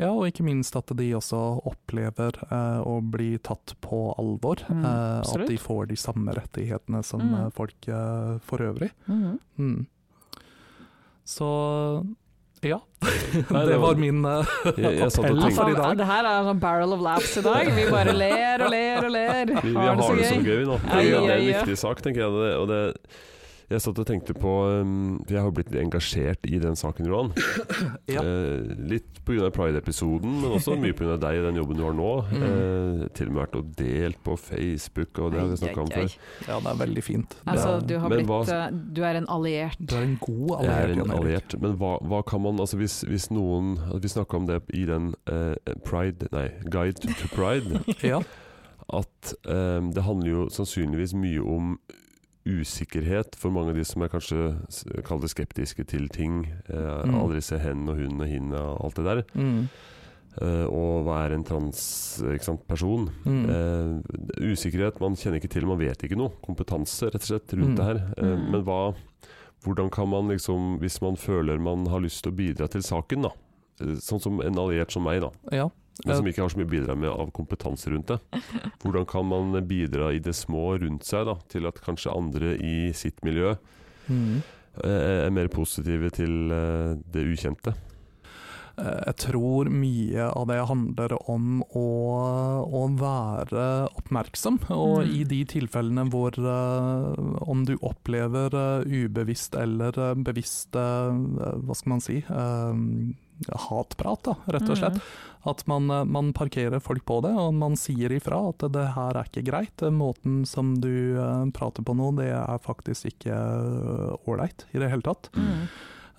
B: Ja, og ikke minst at de også opplever eh, å bli tatt på alvor.
C: Mm,
B: eh, at
C: absolutt.
B: de får de samme rettighetene som
C: Mm.
B: eh, folk eh, for øvrig.
C: Mm-hmm.
B: Mm. Så ja. det
A: det var-
B: var min eh,
A: Jeg, jeg satt og tenkte
B: Appell.
C: Altså,
B: for i dag.
C: det her er en sånn barrel of laughs i dag. Vi bare ler og ler og ler.
A: Vi, vi har det så gøy nå. Det er
C: Ai,
A: det er en
C: ai, ai.
A: viktig sak, tenker jeg. Det, og det, jeg satt og tenkte på um, for Jeg har blitt engasjert i den saken, Roan.
B: Ja.
A: Eh, litt pga. pride-episoden, men også mye pga. deg og den jobben du har nå.
B: Mm.
A: Eh, til og med vært og delt på Facebook, og det har vi snakka om
C: Ai, ai, ai.
A: før.
B: Ja, det er veldig fint. Det
C: Altså,
B: er-
C: du, har
A: Men
C: blitt,
A: hva-
C: eh, du er en alliert.
B: du er en god
A: Jeg er
B: alliert.
A: en
B: Jan Erik.
A: alliert, men hva, hva kan man altså Hvis, hvis noen Vi snakka om det i den eh, Pride Nei, Guide to, to Pride.
B: Ja.
A: at ehm, det handler jo sannsynligvis mye om usikkerhet for mange av de som er kanskje s- kall det skeptiske til ting. Eh,
B: Mm.
A: Aldri se hen og hun og hin og alt det der.
B: Mm.
A: Eh, og hva er en eh, transperson?
B: Mm.
A: Eh, usikkerhet, man kjenner ikke til, man vet ikke noe. Kompetanse, rett og slett, rundt
B: Mm.
A: det her. Eh,
C: Mm.
A: Men hva Hvordan kan man liksom, hvis man føler man har lyst til å bidra til saken, da. Eh, Sånn som en alliert som meg, da
B: ja.
A: men som ikke har så mye å bidra med av kompetanse rundt det. Hvordan kan man bidra i det små rundt seg da, til at kanskje andre i sitt miljø
B: Mm.
A: eh, er mer positive til eh, det ukjente?
B: Eh, Jeg tror mye av det handler om å, å være oppmerksom. Og
C: Mm.
B: i de tilfellene hvor eh, om du opplever eh, ubevisst eller eh, bevisst eh, Hva skal man si? eh, hatprat, da, rett og
C: Mm.
B: slett. At man, eh, man parkerer folk på det, og man sier ifra at det her er ikke greit. Den Måten som du eh, prater på nå, det er faktisk ikke eh, ålreit i det hele tatt.
C: Mm. Mm.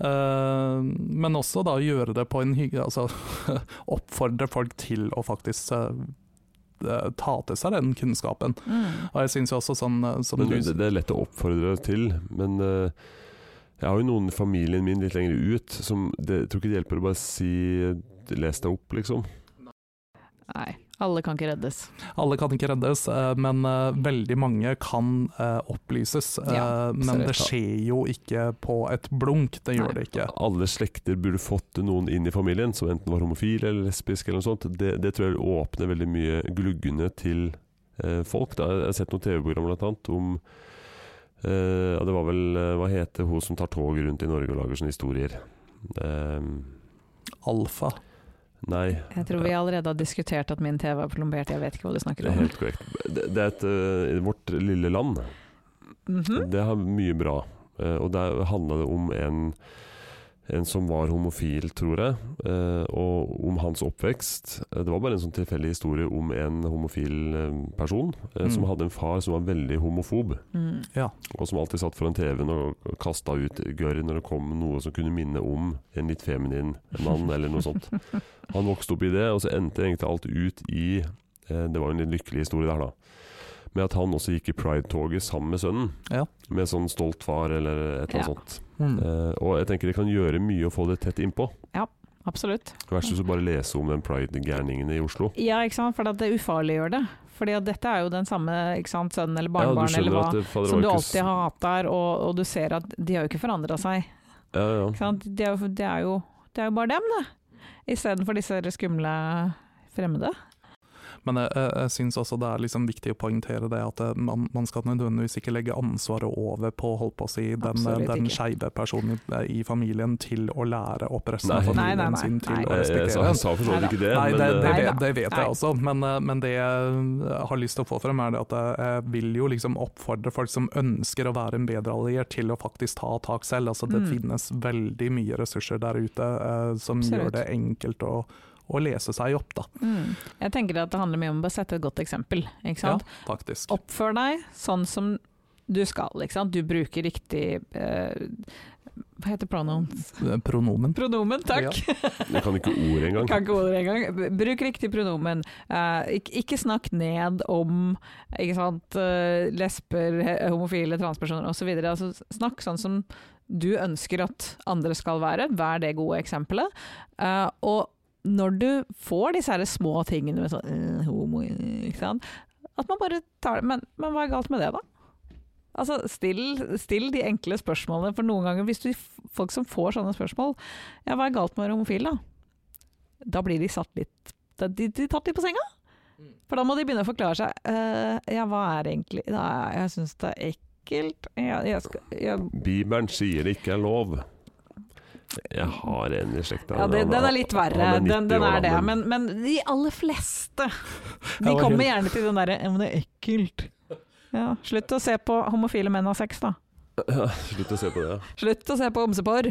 B: Eh, men også da gjøre det på en hygge... Altså oppfordre folk til å faktisk eh, ta til seg den kunnskapen.
C: Mm.
B: Og jeg syns jo også sånn eh, som
A: Men
B: du
A: det, det er lett å oppfordre til, men eh, jeg har jo noen i familien min litt lenger ut som det, jeg tror ikke det hjelper å bare si Les deg opp, liksom.
C: Nei, alle kan ikke reddes.
B: Alle kan ikke reddes, eh, men eh, veldig mange kan eh, opplyses. Eh,
C: Ja,
B: men det
C: absolutt.
B: skjer jo ikke på et blunk, det gjør
C: Nei.
B: det ikke.
A: Alle slekter burde fått noen inn i familien som enten var homofil eller lesbisk eller noe sånt. Det, det tror jeg vil åpne veldig mye gluggene til eh, folk. Da. Jeg har sett noen TV-program blant annet om eh, ja, Det var vel eh, Hva heter hun som tar tog rundt i Norge og lager sånne historier? Ehm,
B: Alfa.
A: nei,
C: Jeg tror vi allerede har diskutert at min TV er plombert, jeg vet ikke hva du
A: det
C: snakker
A: er
C: om.
A: helt korrekt. Det, det er et, eh, vårt lille land.
C: Mhm.
A: Det har mye bra. Eh, og der handla det om en, en som var homofil, tror jeg, eh, og om hans oppvekst. Eh, det var bare en sånn tilfeldig historie om en homofil eh, person eh, som
B: Mm.
A: hadde en far som var veldig homofob,
C: Mm.
A: og som alltid satt foran TV-en og kasta ut gørr når det kom noe som kunne minne om en litt feminin mann, eller noe sånt. Han vokste opp i det, og så endte egentlig alt ut i eh, Det var jo en lykkelig historie der, da. Med at han også gikk i Pride-toget sammen med sønnen.
B: Ja.
A: Med sånn stolt far, eller et eller annet sånt.
B: Mm.
A: Eh, og jeg tenker det kan gjøre mye å få det tett innpå.
C: Absolutt.
A: Verst hvis du bare leser om den pride-gærningene i Oslo.
C: Ja, ikke sant, for at det ufarliggjør det. Fordi at dette er jo den samme ikke sant, sønnen eller
A: ja,
C: barnebarnet
A: du
C: eller
A: skjønner
C: hva
A: at det, fader,
C: som
A: var
C: du
A: ikke
C: alltid
A: s-
C: har hatt der, og, og du ser at de har jo ikke forandra seg.
A: Ja,
C: Ikke
A: ja.
C: sant? Det, er jo, det, er jo, det er jo bare dem, det. Istedenfor disse skumle fremmede.
B: Men jeg, jeg, jeg syns også det er liksom viktig å poengtere det at eh, man, man skal nødvendigvis ikke legge ansvaret over på holdt på å si, den, eh,
C: Absolutt
B: den
C: ikke.
B: skeive personen i- i familien til å lære opp resten av
A: Nei.
B: familien
C: Nei, nei, nei,
B: sin til
C: nei.
A: Jeg,
B: å
A: jeg, sa-
B: respektere
A: jeg sa for så vidt
C: Neida.
A: ikke det,
B: Nei,
A: men
B: det,
A: eh,
B: det,
C: Nei
B: det,
C: da.
B: det vet
C: Nei.
B: jeg også, men, eh, men det jeg har lyst til å få frem, er det at jeg vil jo liksom oppfordre folk som ønsker å være en bedre alliert, til å faktisk ta tak selv. Altså, det
C: Mm.
B: finnes veldig mye ressurser der ute eh, som
C: Absolutt.
B: gjør det enkelt å, å lese seg opp, da.
C: Mm. Jeg tenker at det handler mye om å bare sette et godt eksempel. Ikke sant?
B: Ja, faktisk.
C: Oppfør deg sånn som du skal. Ikke sant? Du bruker riktig eh, Hva heter pronomen?
B: Eh, Pronomen.
C: Pronomen, takk!
A: jeg kan ikke ordet engang.
C: Kan ikke ordet engang. B- Bruk riktig pronomen. Eh, ikke, ikke snakk ned om ikke sant, eh, lesber, he- homofile, transpersoner osv. Altså, snakk sånn som du ønsker at andre skal være. Vær det gode eksempelet. Eh, og når du får disse her små tingene med sånn eh, homo, eh, ikke sant? At man bare tar det. Men, men hva er galt med det, da? Altså, still, still de enkle spørsmålene, for noen ganger, hvis du f- folk som får sånne spørsmål Ja, hva er galt med å være homofil, da? da blir de satt litt da, de, de tatt litt på senga. For da må de begynne å forklare seg. Eh, ja, hva er det egentlig Nei, jeg syns det er ekkelt. Jeg, jeg skal, jeg,
A: Bibelen sier det ikke er lov. Jeg har en i slekta.
C: ja, det, den er litt verre.
A: Han er 90
C: Den, den
A: år
C: er det.
A: gammel.
C: Men, men de aller fleste De
B: Jeg var
C: kommer
B: helt-
C: gjerne til den derre Ja, men det er ekkelt. Ja, slutt å se på homofile menn av sex, da.
A: Slutt å se på det.
C: Slutt å se på homseporr.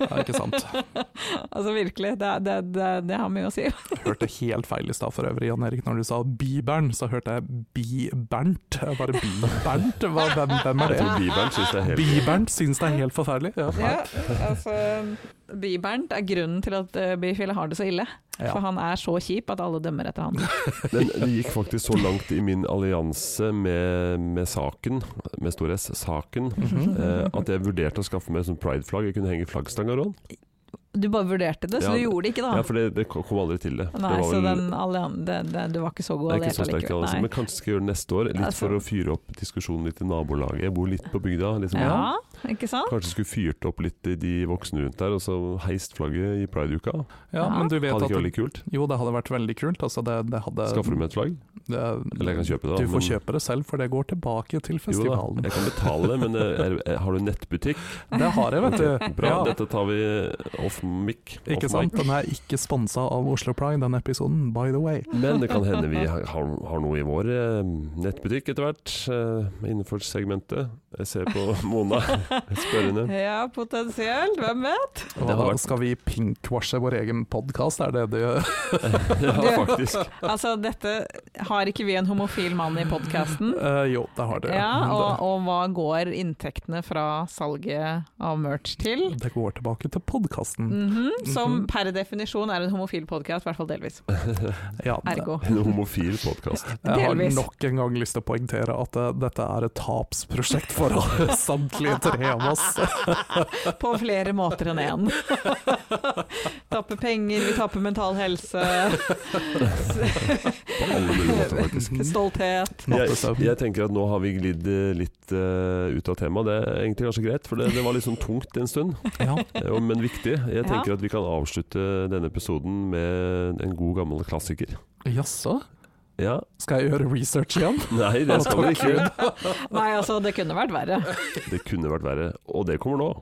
B: Ja, ikke sant.
C: Altså virkelig, det, det, det, det har mye å si.
B: Hørte helt feil i stad for øvrig, Jan Erik. Når du sa Bibelen, så hørte jeg Bi-Bernt. Jeg Bare Bi-Bernt? Hva- Hvem, hvem er
A: Jeg tror
B: det?
A: Bibelen syns det er helt
B: Bi-Bernt syns det er helt forferdelig. Ja.
C: Ja, altså Bibernt er grunnen til at eh, bifile har det så ille.
B: Ja.
C: For han er så kjip at alle dømmer etter han.
A: Men det gikk faktisk så langt i min allianse med, med saken, med stor S, saken,
B: Mhm.
A: eh, at jeg vurderte å skaffe meg sånn prideflagg jeg kunne henge i flaggstanga og sånn.
C: Du bare vurderte det, så
A: Ja,
C: du gjorde det ikke da.
A: Ja, for det, det kom aldri til det.
C: Nei,
A: det var
C: så
A: vel-
C: den allian- det- det- du var ikke så god
A: jeg er ikke
C: alliert
A: så sterk
C: allikevel.
A: allianse,
C: Nei.
A: men kanskje skal jeg gjøre det neste år. Litt for
C: Altså-
A: å fyre opp diskusjonen litt i nabolaget. Jeg bor litt på bygda. Liksom.
C: Ja, ikke sant?
A: Kanskje skulle fyrt opp litt i de voksne rundt der, og så heist flagget i prideuka.
B: Ja, men du vet
A: Hadde
B: at
A: ikke vært litt kult?
B: Jo, det hadde vært veldig kult. Altså, det, det hadde,
A: Skaffer du meg et flagg?
B: det,
A: Eller jeg kan kjøpe det, da,
B: Du får
A: men-
B: kjøpe det selv, for det går tilbake til
A: Jo da,
B: festivalen.
A: jeg kan betale, men eh, er, er, har du nettbutikk?
B: det har jeg, vet
A: Ok,
B: du.
A: Bra,
B: Ja,
A: dette tar vi eh, off mic. Off
B: ikke sant? Den er ikke sponsa av Oslo Pride, den episoden, by the way.
A: mic. Men det kan hende vi har, har noe i vår eh, nettbutikk etter hvert, eh, innenfor segmentet. Jeg ser på Mona spørrende.
C: Ja, potensielt. Hvem vet?
A: Det har
B: Hva,
A: vært-
B: skal vi pinkwashe vår egen podkast, er det det
A: Ja, faktisk.
C: Altså, dette har ikke vi en homofil mann i podkasten.
B: Eh, Jo, det har det.
C: Ja,
B: Men
C: og, og hva går inntektene fra salget av merch til?
B: det, det går tilbake til podkasten.
A: Mm.
C: Mhm, som per definisjon er en homofil podkast, i hvert fall delvis.
B: Ja,
C: Ergo.
A: En homofil podkast.
B: jeg har
C: delvis.
B: nok en gang lyst til å poengtere at eh, dette er et tapsprosjekt for alle- samtlige tre av oss.
C: På flere måter enn én. Tappe penger, vi tapper mental helse,
A: På alle mulige måter, faktisk.
C: stolthet.
A: Jeg,
B: Nattesøvn.
A: jeg tenker at nå har vi glidd eh, litt eh, ut av temaet. Det er egentlig kanskje greit, for det, det var litt sånn tungt en stund,
B: Ja.
A: eh, og- men viktig. Jeg tenker at vi kan avslutte denne episoden med en god gammel klassiker.
B: Jaså?
A: Ja.
B: Skal jeg gjøre research igjen?
A: Nei, det skal vi ikke.
C: Nei, altså, det kunne vært verre.
A: Det kunne vært verre, og det kommer nå.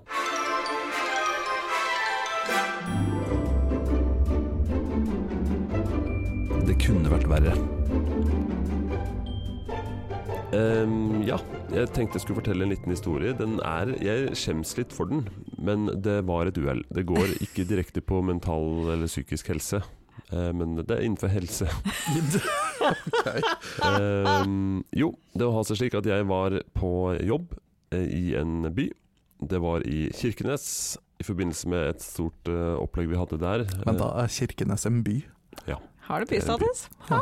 A: Det kunne vært verre. Ehm, ja, jeg tenkte jeg skulle fortelle en liten historie. Den er, Jeg skjems litt for den, men det var et uhell. Det går ikke direkte på mental eller psykisk helse, eh, men det er innenfor helse. Ehm, jo, det har seg slik at jeg var på jobb eh, i en by. Det var i Kirkenes, i forbindelse med et stort eh, opplegg vi hadde der.
B: Men da er Kirkenes en by.
C: Har du bystatus?
B: Ja.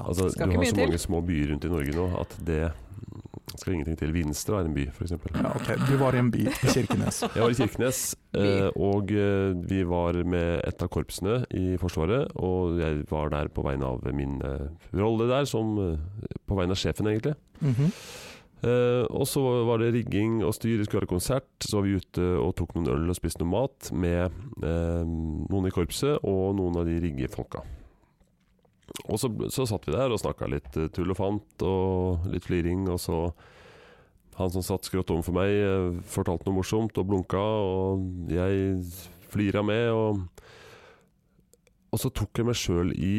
A: Altså,
C: Skal
A: du
C: ikke
A: har
C: mye
A: så
C: til.
A: mange små byer rundt i Norge nå at det mm, skal ingenting til. Vinstra er en by, f.eks.
B: ja, ok. Du var i en by i Kirkenes.
A: Jeg var i Kirkenes, eh, og eh, vi var med et av korpsene i Forsvaret. Og jeg var der på vegne av min eh, rolle der, som eh, På vegne av sjefen, egentlig.
B: Mhm.
A: Eh, og så var det rigging og styr, vi skulle ha konsert. Så var vi ute og tok noen øl og spiste noe mat med eh, noen i korpset og noen av de riggefolka. Og så, så satt vi der og snakka litt eh, tull og fant og litt fliring, og så Han som satt skrått overfor meg, eh, fortalte noe morsomt og blunka, og jeg flira med, og Og så tok jeg meg sjøl i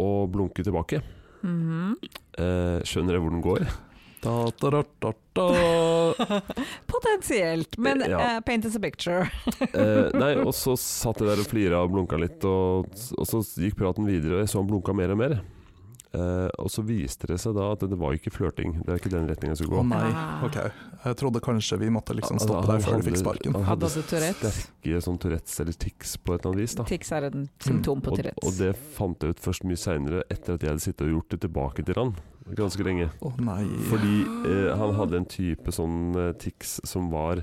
A: å blunke tilbake.
C: Mhm.
A: Eh, skjønner jeg hvor den går?
B: Da, da, da, da, da.
C: Potensielt, men
A: Ja.
C: eh, paint us a picture.
A: Eh, nei, og så satt jeg der og flira og blunka litt, og, og så gikk praten videre, og jeg så han blunka mer og mer. Eh, og så viste det seg da at det var ikke flørting. Det er ikke den retninga jeg skulle
B: Å
A: gå.
B: nei,
C: Ah.
B: ok. Jeg trodde kanskje vi måtte liksom
A: Altså,
B: stoppe
A: han
B: deg før du
A: hadde-
B: fikk sparken.
A: Han
C: Hadde
A: hadde
C: du Tourettes?
A: sterke sånn Tourettes eller tics på et eller annet vis. da Mm.
C: Tics er et symptom på
A: og,
C: Tourettes.
A: og det fant jeg ut først mye seinere, etter at jeg hadde sittet og gjort det tilbake til han ganske lenge.
B: Å nei.
A: Fordi eh, han hadde en type sånn eh, tics som var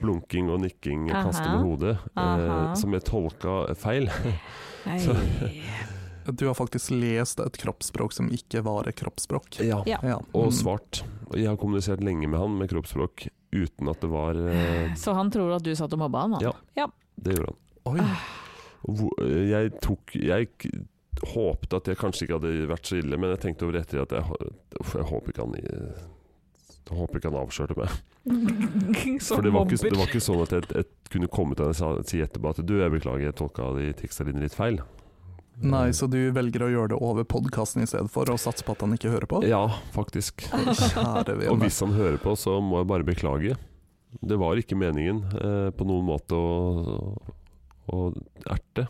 A: blunking og nikking og kaste med
C: Aha.
A: hodet,
C: Aha.
A: eh, som jeg tolka feil.
C: Nei.
B: Du har faktisk lest et kroppsspråk som ikke var et kroppsspråk.
A: Ja.
C: Ja.
B: Ja.
A: Og
B: Mm.
A: svart. Og Jeg har kommunisert lenge med han med kroppsspråk uten at det var eh,
C: Så han tror at du satt og mobba han, da?
A: Ja. Det gjorde han.
B: Oi.
C: Ah.
A: Og hvor- eh, Jeg tok Jeg k- håpte at jeg kanskje ikke hadde vært så ille, men jeg tenkte over det etter at jeg, hå- uff, jeg håper ikke han eh, jeg håper ikke han avslørte meg. For det var, ikke, det var ikke sånn at jeg, jeg kunne komme til deg og si etterpå at du, jeg beklager, jeg tolka de tiksa dine litt feil.
B: Nei, så du velger å gjøre det over podkasten i stedet for, og satse på at han ikke hører på?
A: Ja, faktisk.
B: Kjære
A: Og
B: vene.
A: hvis han hører på, så må jeg bare beklage. Det var ikke meningen eh, på noen måte å, å erte.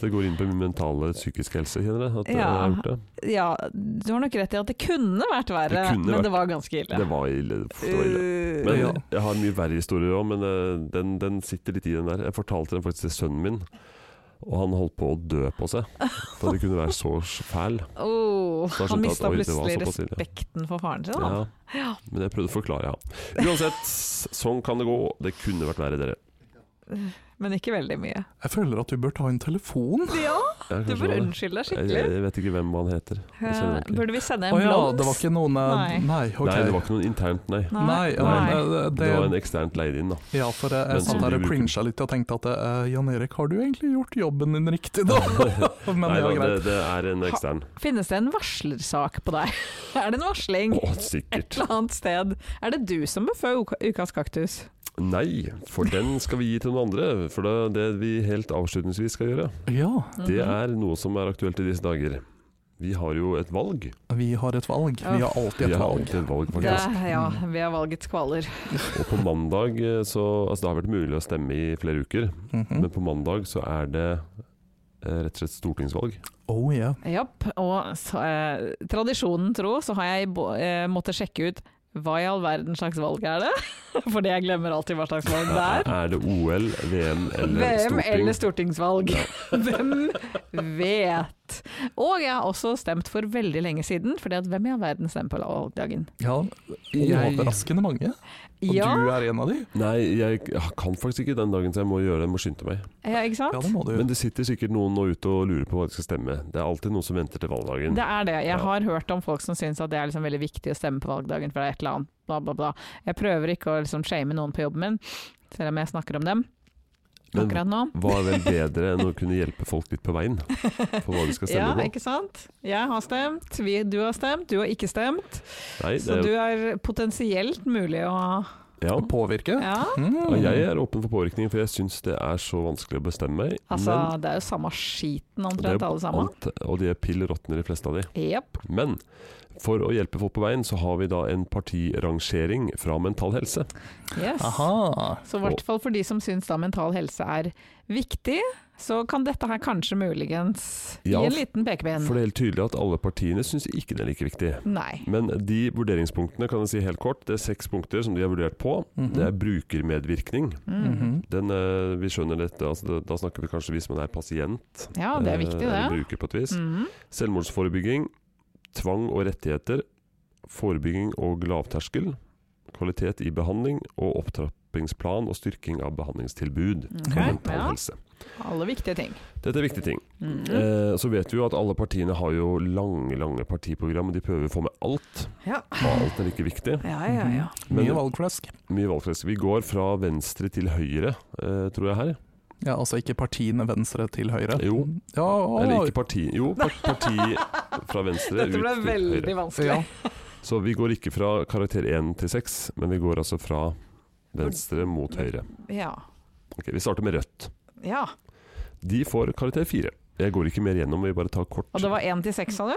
A: Det går inn på min mentale psykiske helse, kjenner jeg. At jeg
C: Ja.
A: har gjort det.
C: Ja, du har nok rett i at det kunne vært verre,
A: Det kunne
C: men
A: vært-
C: det var ganske ille.
A: Det var ille. Uff, Det var ille.
C: Uh,
A: Men
B: Ja.
A: jeg har mye verre historier òg, men eh, den, den sitter litt i den der. Jeg fortalte den faktisk til sønnen min, og han holdt på å dø på seg. For det kunne være så fæl.
C: oh,
A: Så jeg skjønte
C: han
A: at,
C: mista
A: oi, det var
C: plutselig
A: såpass ille.
C: respekten for faren sin, da.
A: Ja. Men jeg prøvde å forklare, ja. Uansett, sånn kan det gå. Det kunne vært verre, dere.
C: Men ikke veldig mye.
B: Jeg føler at du bør ta en telefon.
C: Ja,
A: Ja,
C: du
A: kanskje
C: bør
A: det.
C: unnskylde deg
A: Jeg,
C: skikkelig.
A: jeg vet ikke hvem han heter. Jeg kjenner
C: Eh,
A: han ikke.
C: Burde vi sende
B: Å
C: en
B: ja, det var
C: blomst?
B: ikke noen eh,
C: Nei.
B: Nei, ok.
A: Nei, det var ikke noe internt, nei.
B: Nei, ja,
A: Nei.
B: men, eh,
A: Det var en eksternt leid inn, da.
B: Ja, for jeg,
A: Men
B: jeg satt
A: som
B: der
A: de
B: og
A: bruker.
B: crincha litt og tenkte at eh, Jan Erik, har du egentlig gjort jobben din riktig da? Men
A: Nei,
B: det
A: da,
B: var
A: det,
B: greit.
A: det er en ekstern.
C: Finnes det en varslersak på deg? er det en varsling
A: Å,
C: et
A: sikkert.
C: eller annet sted? Er det du som bør få uka- ukas kaktus?
A: Nei, for den skal vi gi til noen andre. For det, det vi helt avslutningsvis skal gjøre,
B: Ja,
A: det
C: Mhm.
A: er noe som er aktuelt i disse dager. Vi har jo et valg.
B: vi har et valg. Vi har alltid
A: Vi
B: et
A: har
B: valg.
A: alltid et valg,
C: Mm. det,
A: faktisk.
C: ja, vi har valgets kvaler.
A: Og på mandag eh, så Altså, det har vært mulig å stemme i flere uker,
B: Mhm.
A: men på mandag så er det eh, rett og slett stortingsvalg.
B: Oh yeah.
C: Japp, og så, eh, tradisjonen tro så har jeg bo- eh, måttet sjekke ut hva i all verden slags valg er det? Fordi jeg glemmer alltid hva slags valg det er.
A: Er det OL, VM eller
C: VM eller
A: storting?
C: stortingsvalg. Hvem vet? Og jeg har også stemt for veldig lenge siden, fordi at hvem i all verden stemmer på valgdagen?
B: Ja,
A: Jeg-
B: overraskende mange. Og
C: Ja,
B: du er en av de.
A: Nei, jeg kan faktisk ikke den dagen, så jeg må gjøre det. Jeg må skynde meg.
C: ja ikke
B: Ja,
C: sant?
B: det må du.
A: Men det sitter sikkert noen nå ute og lurer på hva de skal stemme. Det er alltid noen som venter til valgdagen.
C: Det er det. Jeg
A: Ja.
C: har hørt om folk som syns at det er liksom veldig viktig å stemme på valgdagen, for det er et eller annet, bla, bla, bla. Jeg prøver ikke å liksom shame noen på jobben min, selv om jeg snakker om dem
A: Men
C: akkurat nå.
A: hva er vel bedre enn å kunne hjelpe folk litt på veien for hva de skal
C: ja,
A: stemme på?
C: ikke sant? Jeg har stemt, vi, du har stemt, du har ikke stemt.
A: Nei, det
C: Så
A: er,
C: du er potensielt mulig å ha
A: ja.
B: Å påvirke.
C: Ja,
B: Mm.
A: Og jeg er åpen for påvirkning, for jeg syns det er så vanskelig å bestemme meg.
C: altså det er jo samme skiten omtrent alle
A: men
C: sammen.
A: alt, og de er pill råtner, de fleste av de.
C: Jepp.
A: Men for å hjelpe folk på veien, så har vi da en partirangering fra Mental Helse.
C: Yes.
B: Aha.
C: Så i hvert fall for de som syns da mental helse er viktig, så kan dette her kanskje muligens
A: Ja,
C: gi en liten pekepinn.
A: For det er helt tydelig at alle partiene syns ikke det er like viktig.
C: Nei.
A: Men de vurderingspunktene kan jeg si helt kort. Det er seks punkter som de har vurdert på.
B: Mhm.
A: Det er
C: Mm.
A: brukermedvirkning.
B: Mhm.
A: Den, eh, vi skjønner dette, altså, da- da snakker vi kanskje vi som er pasient.
C: Ja, det er
A: eh,
C: viktig,
A: eller
C: det.
A: bruker på et vis.
C: Mhm.
A: Selvmordsforebygging. Tvang og rettigheter. Forebygging og lavterskel. Kvalitet i behandling. Og opptrappingsplan og styrking av behandlingstilbud.
C: Ok,
A: For mental
C: ja.
A: helse.
C: Alle viktige ting.
A: Dette er viktige ting.
C: Mhm.
A: Eh, så vet vi jo at alle partiene har jo lange, lange partiprogram, og de prøver å få med alt.
C: Ja.
A: Og alt er like viktig.
C: Ja, ja, ja.
A: Men-
B: Mye valgflesk.
A: Mye valgflesk. Vi går fra venstre til høyre, eh, tror jeg her.
B: Ja, altså ikke partiene venstre til høyre?
A: Jo.
B: Ja, å,
A: Eller ikke parti Jo, par- parti fra venstre ut
C: Dette ble
A: til høyre.
C: veldig vanskelig.
B: Ja.
A: Så vi går ikke fra karakter 1 til 6, men vi går altså fra venstre mot høyre.
C: Ja.
A: Ok, Vi starter med Rødt.
C: ja.
A: De får karakter 4. Jeg går ikke mer gjennom, vi bare tar kort.
C: Og det var én til seks, sa du?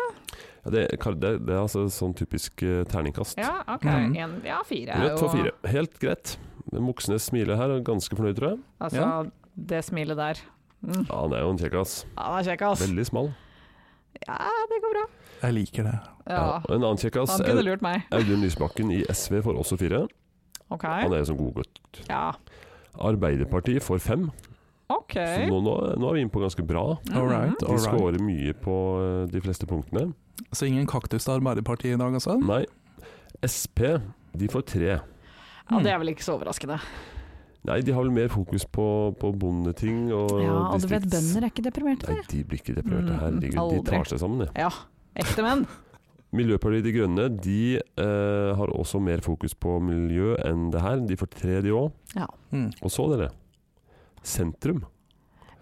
A: Ja, det, er kar- det, det er altså sånn typisk eh, terningkast.
C: Ja, ok.
B: Mhm.
C: En, ja, fire er
A: Rødt
C: jo
A: får 4. Helt greit. Moxnes smiler her, og er ganske fornøyd, tror jeg.
C: Altså,
B: Ja.
C: det smilet der. Mm.
A: Ja, han er jo en kjekkas.
C: Ja, han er kjekk, ass.
A: Veldig smal.
C: Ja, det går bra.
B: Jeg liker det.
C: Ja.
A: Ja, eh, og en annen kjekkas,
C: Han kunne lurt meg.
A: Audun Lysbakken i SV, får også 4.
C: Ok.
A: Han er jo sånn godgutt.
C: Ja.
A: Arbeiderpartiet får 5.
C: Ok.
A: Så
C: Mm.
A: nå, nå, nå er vi inne på ganske bra.
B: All right,
A: De
B: all right.
A: scorer mye på eh, de fleste punktene.
B: Så ingen kaktus til Arbeiderpartiet i dag, altså?
A: Nei. Sp, de får 3.
C: Ja, det er vel ikke så overraskende.
A: Nei, de har vel mer fokus på, på bondeting og
C: Ja, og du vet,
A: distrikts-
C: bønder er ikke deprimerte,
A: Nei,
C: de. de.
A: de blir ikke deprimerte.
C: Mm,
A: Herregud, de
C: aldri.
A: tar seg sammen, de.
C: Ja. Ekte menn.
A: Miljøpartiet De Grønne de eh, har også mer fokus på miljø enn det her. De får 3, de òg.
B: Mm.
A: Og så, dere. Sentrum.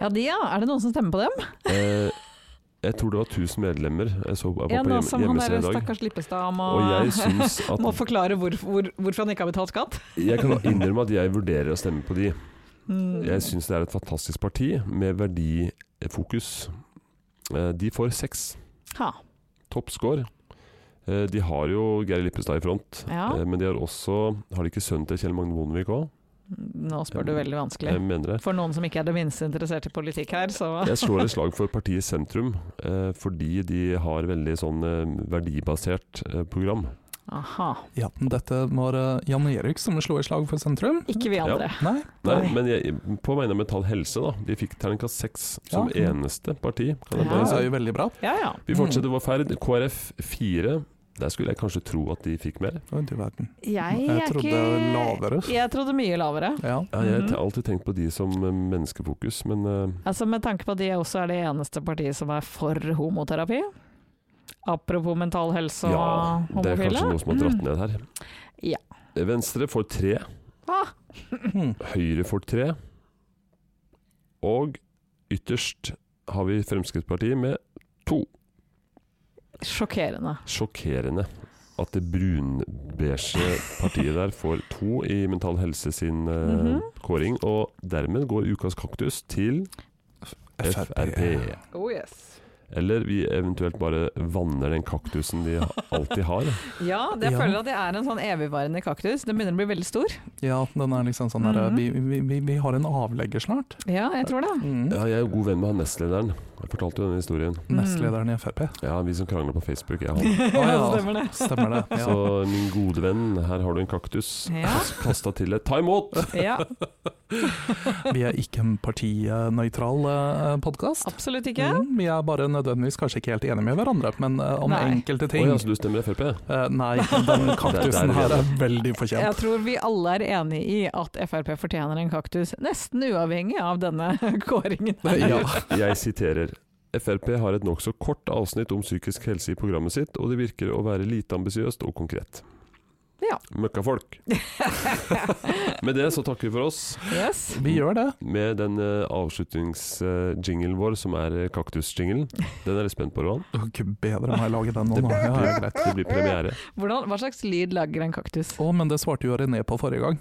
C: Ja, de, ja. Er det noen som stemmer på dem?
A: Eh, jeg tror det var 1000 medlemmer jeg så på på
C: En av
A: hjemme-
C: som han der
A: hjemmesiden i dag.
C: stakkars Lippestad må,
A: Og jeg syns at
C: Ah. må forklare hvor, hvor, hvorfor han ikke har betalt skatt.
A: Jeg kan innrømme at jeg vurderer å stemme på de.
C: Mm.
A: Jeg syns det er et fantastisk parti med verdifokus. Eh, De får seks.
C: Ha.
A: Toppscore. Eh, De har jo Geir Lippestad i front,
C: Ja.
A: eh, men de har også Har de ikke sønnen til Kjell Magne Bondevik òg?
C: Nå spør du veldig vanskelig.
A: Jeg mener det.
C: For noen som ikke er det minste interessert i politikk her, så
A: Jeg slår et slag for partiet Sentrum, eh, fordi de har veldig sånn eh, verdibasert eh, program.
C: Aha.
B: Ja, dette var eh, Jan Erik som slo et slag for sentrum.
C: Ikke vi andre.
B: Nei,
A: Nei,
B: Nei.
A: men jeg, på vegne av Metall Helse, da. De fikk terningkast seks som
B: Ja.
A: eneste parti. Kan jeg
C: Ja.
A: bare
B: det
A: si.
B: er jo veldig bra.
C: Ja ja.
A: Vi fortsetter vår ferd. KrF 4. Der skulle jeg kanskje tro at de fikk mer.
B: Oi, du verden.
C: Jeg,
B: Jeg
C: er
B: trodde
C: ikke
B: lavere.
C: Jeg trodde mye lavere.
B: Ja.
A: Ja, jeg
C: Mhm.
A: har alltid tenkt på de som eh, menneskefokus, men eh,
C: Altså Med tanke på at de også er det eneste partiet som er for homoterapi. Apropos mental helse og
A: ja, det er
C: homofile.
A: kanskje
C: Mm.
A: noe som har dratt ned her.
C: Ja.
A: Venstre får tre,
C: Ah,
B: Mm.
A: Høyre får tre, og ytterst har vi Fremskrittspartiet med to.
C: sjokkerende.
A: Sjokkerende at det brunbeige partiet der får to i Mental Helse sin eh,
C: Mhm.
A: kåring, og dermed går ukas kaktus til
B: Frp.
A: Frp.
C: Oh yes.
A: Eller vi eventuelt bare vanner den kaktusen de alltid har.
C: Ja, det jeg
B: Ja.
C: føler at jeg er en sånn evigvarende kaktus. Den begynner å bli veldig stor.
B: Ja, den er liksom sånn der
C: Mhm.
B: vi, vi, vi, vi har en avlegger snart.
C: Ja, jeg tror det.
B: Mm.
A: Ja, jeg er jo god venn med han nestlederen. Jeg fortalte jo denne historien.
B: Nestlederen i Frp.
A: Ja, Vi som krangler på Facebook. Jeg har.
B: ja.
C: Stemmer Mm. det.
B: Stemmer det. Ja.
A: Så min gode venn, her har du en kaktus.
C: Ja.
A: Kasta til deg. Ta imot!
C: ja,
B: Vi er ikke en partinøytral eh, podkast.
C: absolutt ikke.
B: Mm, vi er bare nødvendigvis kanskje ikke helt enige med hverandre, men eh, om
C: Nei.
B: enkelte
A: Oi,
B: ting.
A: altså, du stemmer Frp?
B: Eh, nei, den
A: Der-
B: kaktusen
A: der er vi
B: her er
A: enige.
B: veldig
C: Jeg
B: fortjent.
C: tror vi alle er enig i at Frp fortjener en kaktus, nesten uavhengig av denne kåringen.
B: Ja.
A: Jeg siterer. Frp har et nokså kort avsnitt om psykisk helse i programmet sitt, og det virker å være lite ambisiøst og konkret.
C: Ja.
A: Møkkafolk. Med det så takker vi for oss.
C: Yes.
B: Vi gjør det.
A: Med den uh, avslutningsjingelen vår, som er eh, kaktusjingelen. Den er jeg spent på, Rohan.
B: Å, Gud bedre må jeg lage den nå.
A: Det
B: nå.
A: blir,
B: Ja, ja, greit.
A: det blir premiere.
C: Hvordan, hva slags lyd lager en kaktus?
B: Å, men det svarte jo René på forrige gang.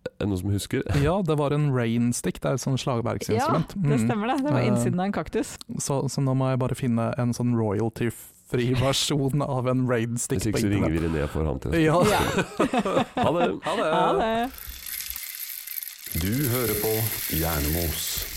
A: Er det noen som husker?
B: Ja, det var en rainstick, det er et sånn slagverksinstrument.
C: Ja, det
B: Mm.
C: stemmer det. Det var
B: Eh.
C: innsiden av en kaktus.
B: Så, så nå må jeg bare finne en sånn royalty-fri versjon av en rainstick.
A: Hvis ikke så ringer vi René for ham til.
B: Ja.
C: Ja.
A: Ha det!
C: Ha det.
A: Du hører på Jernemos.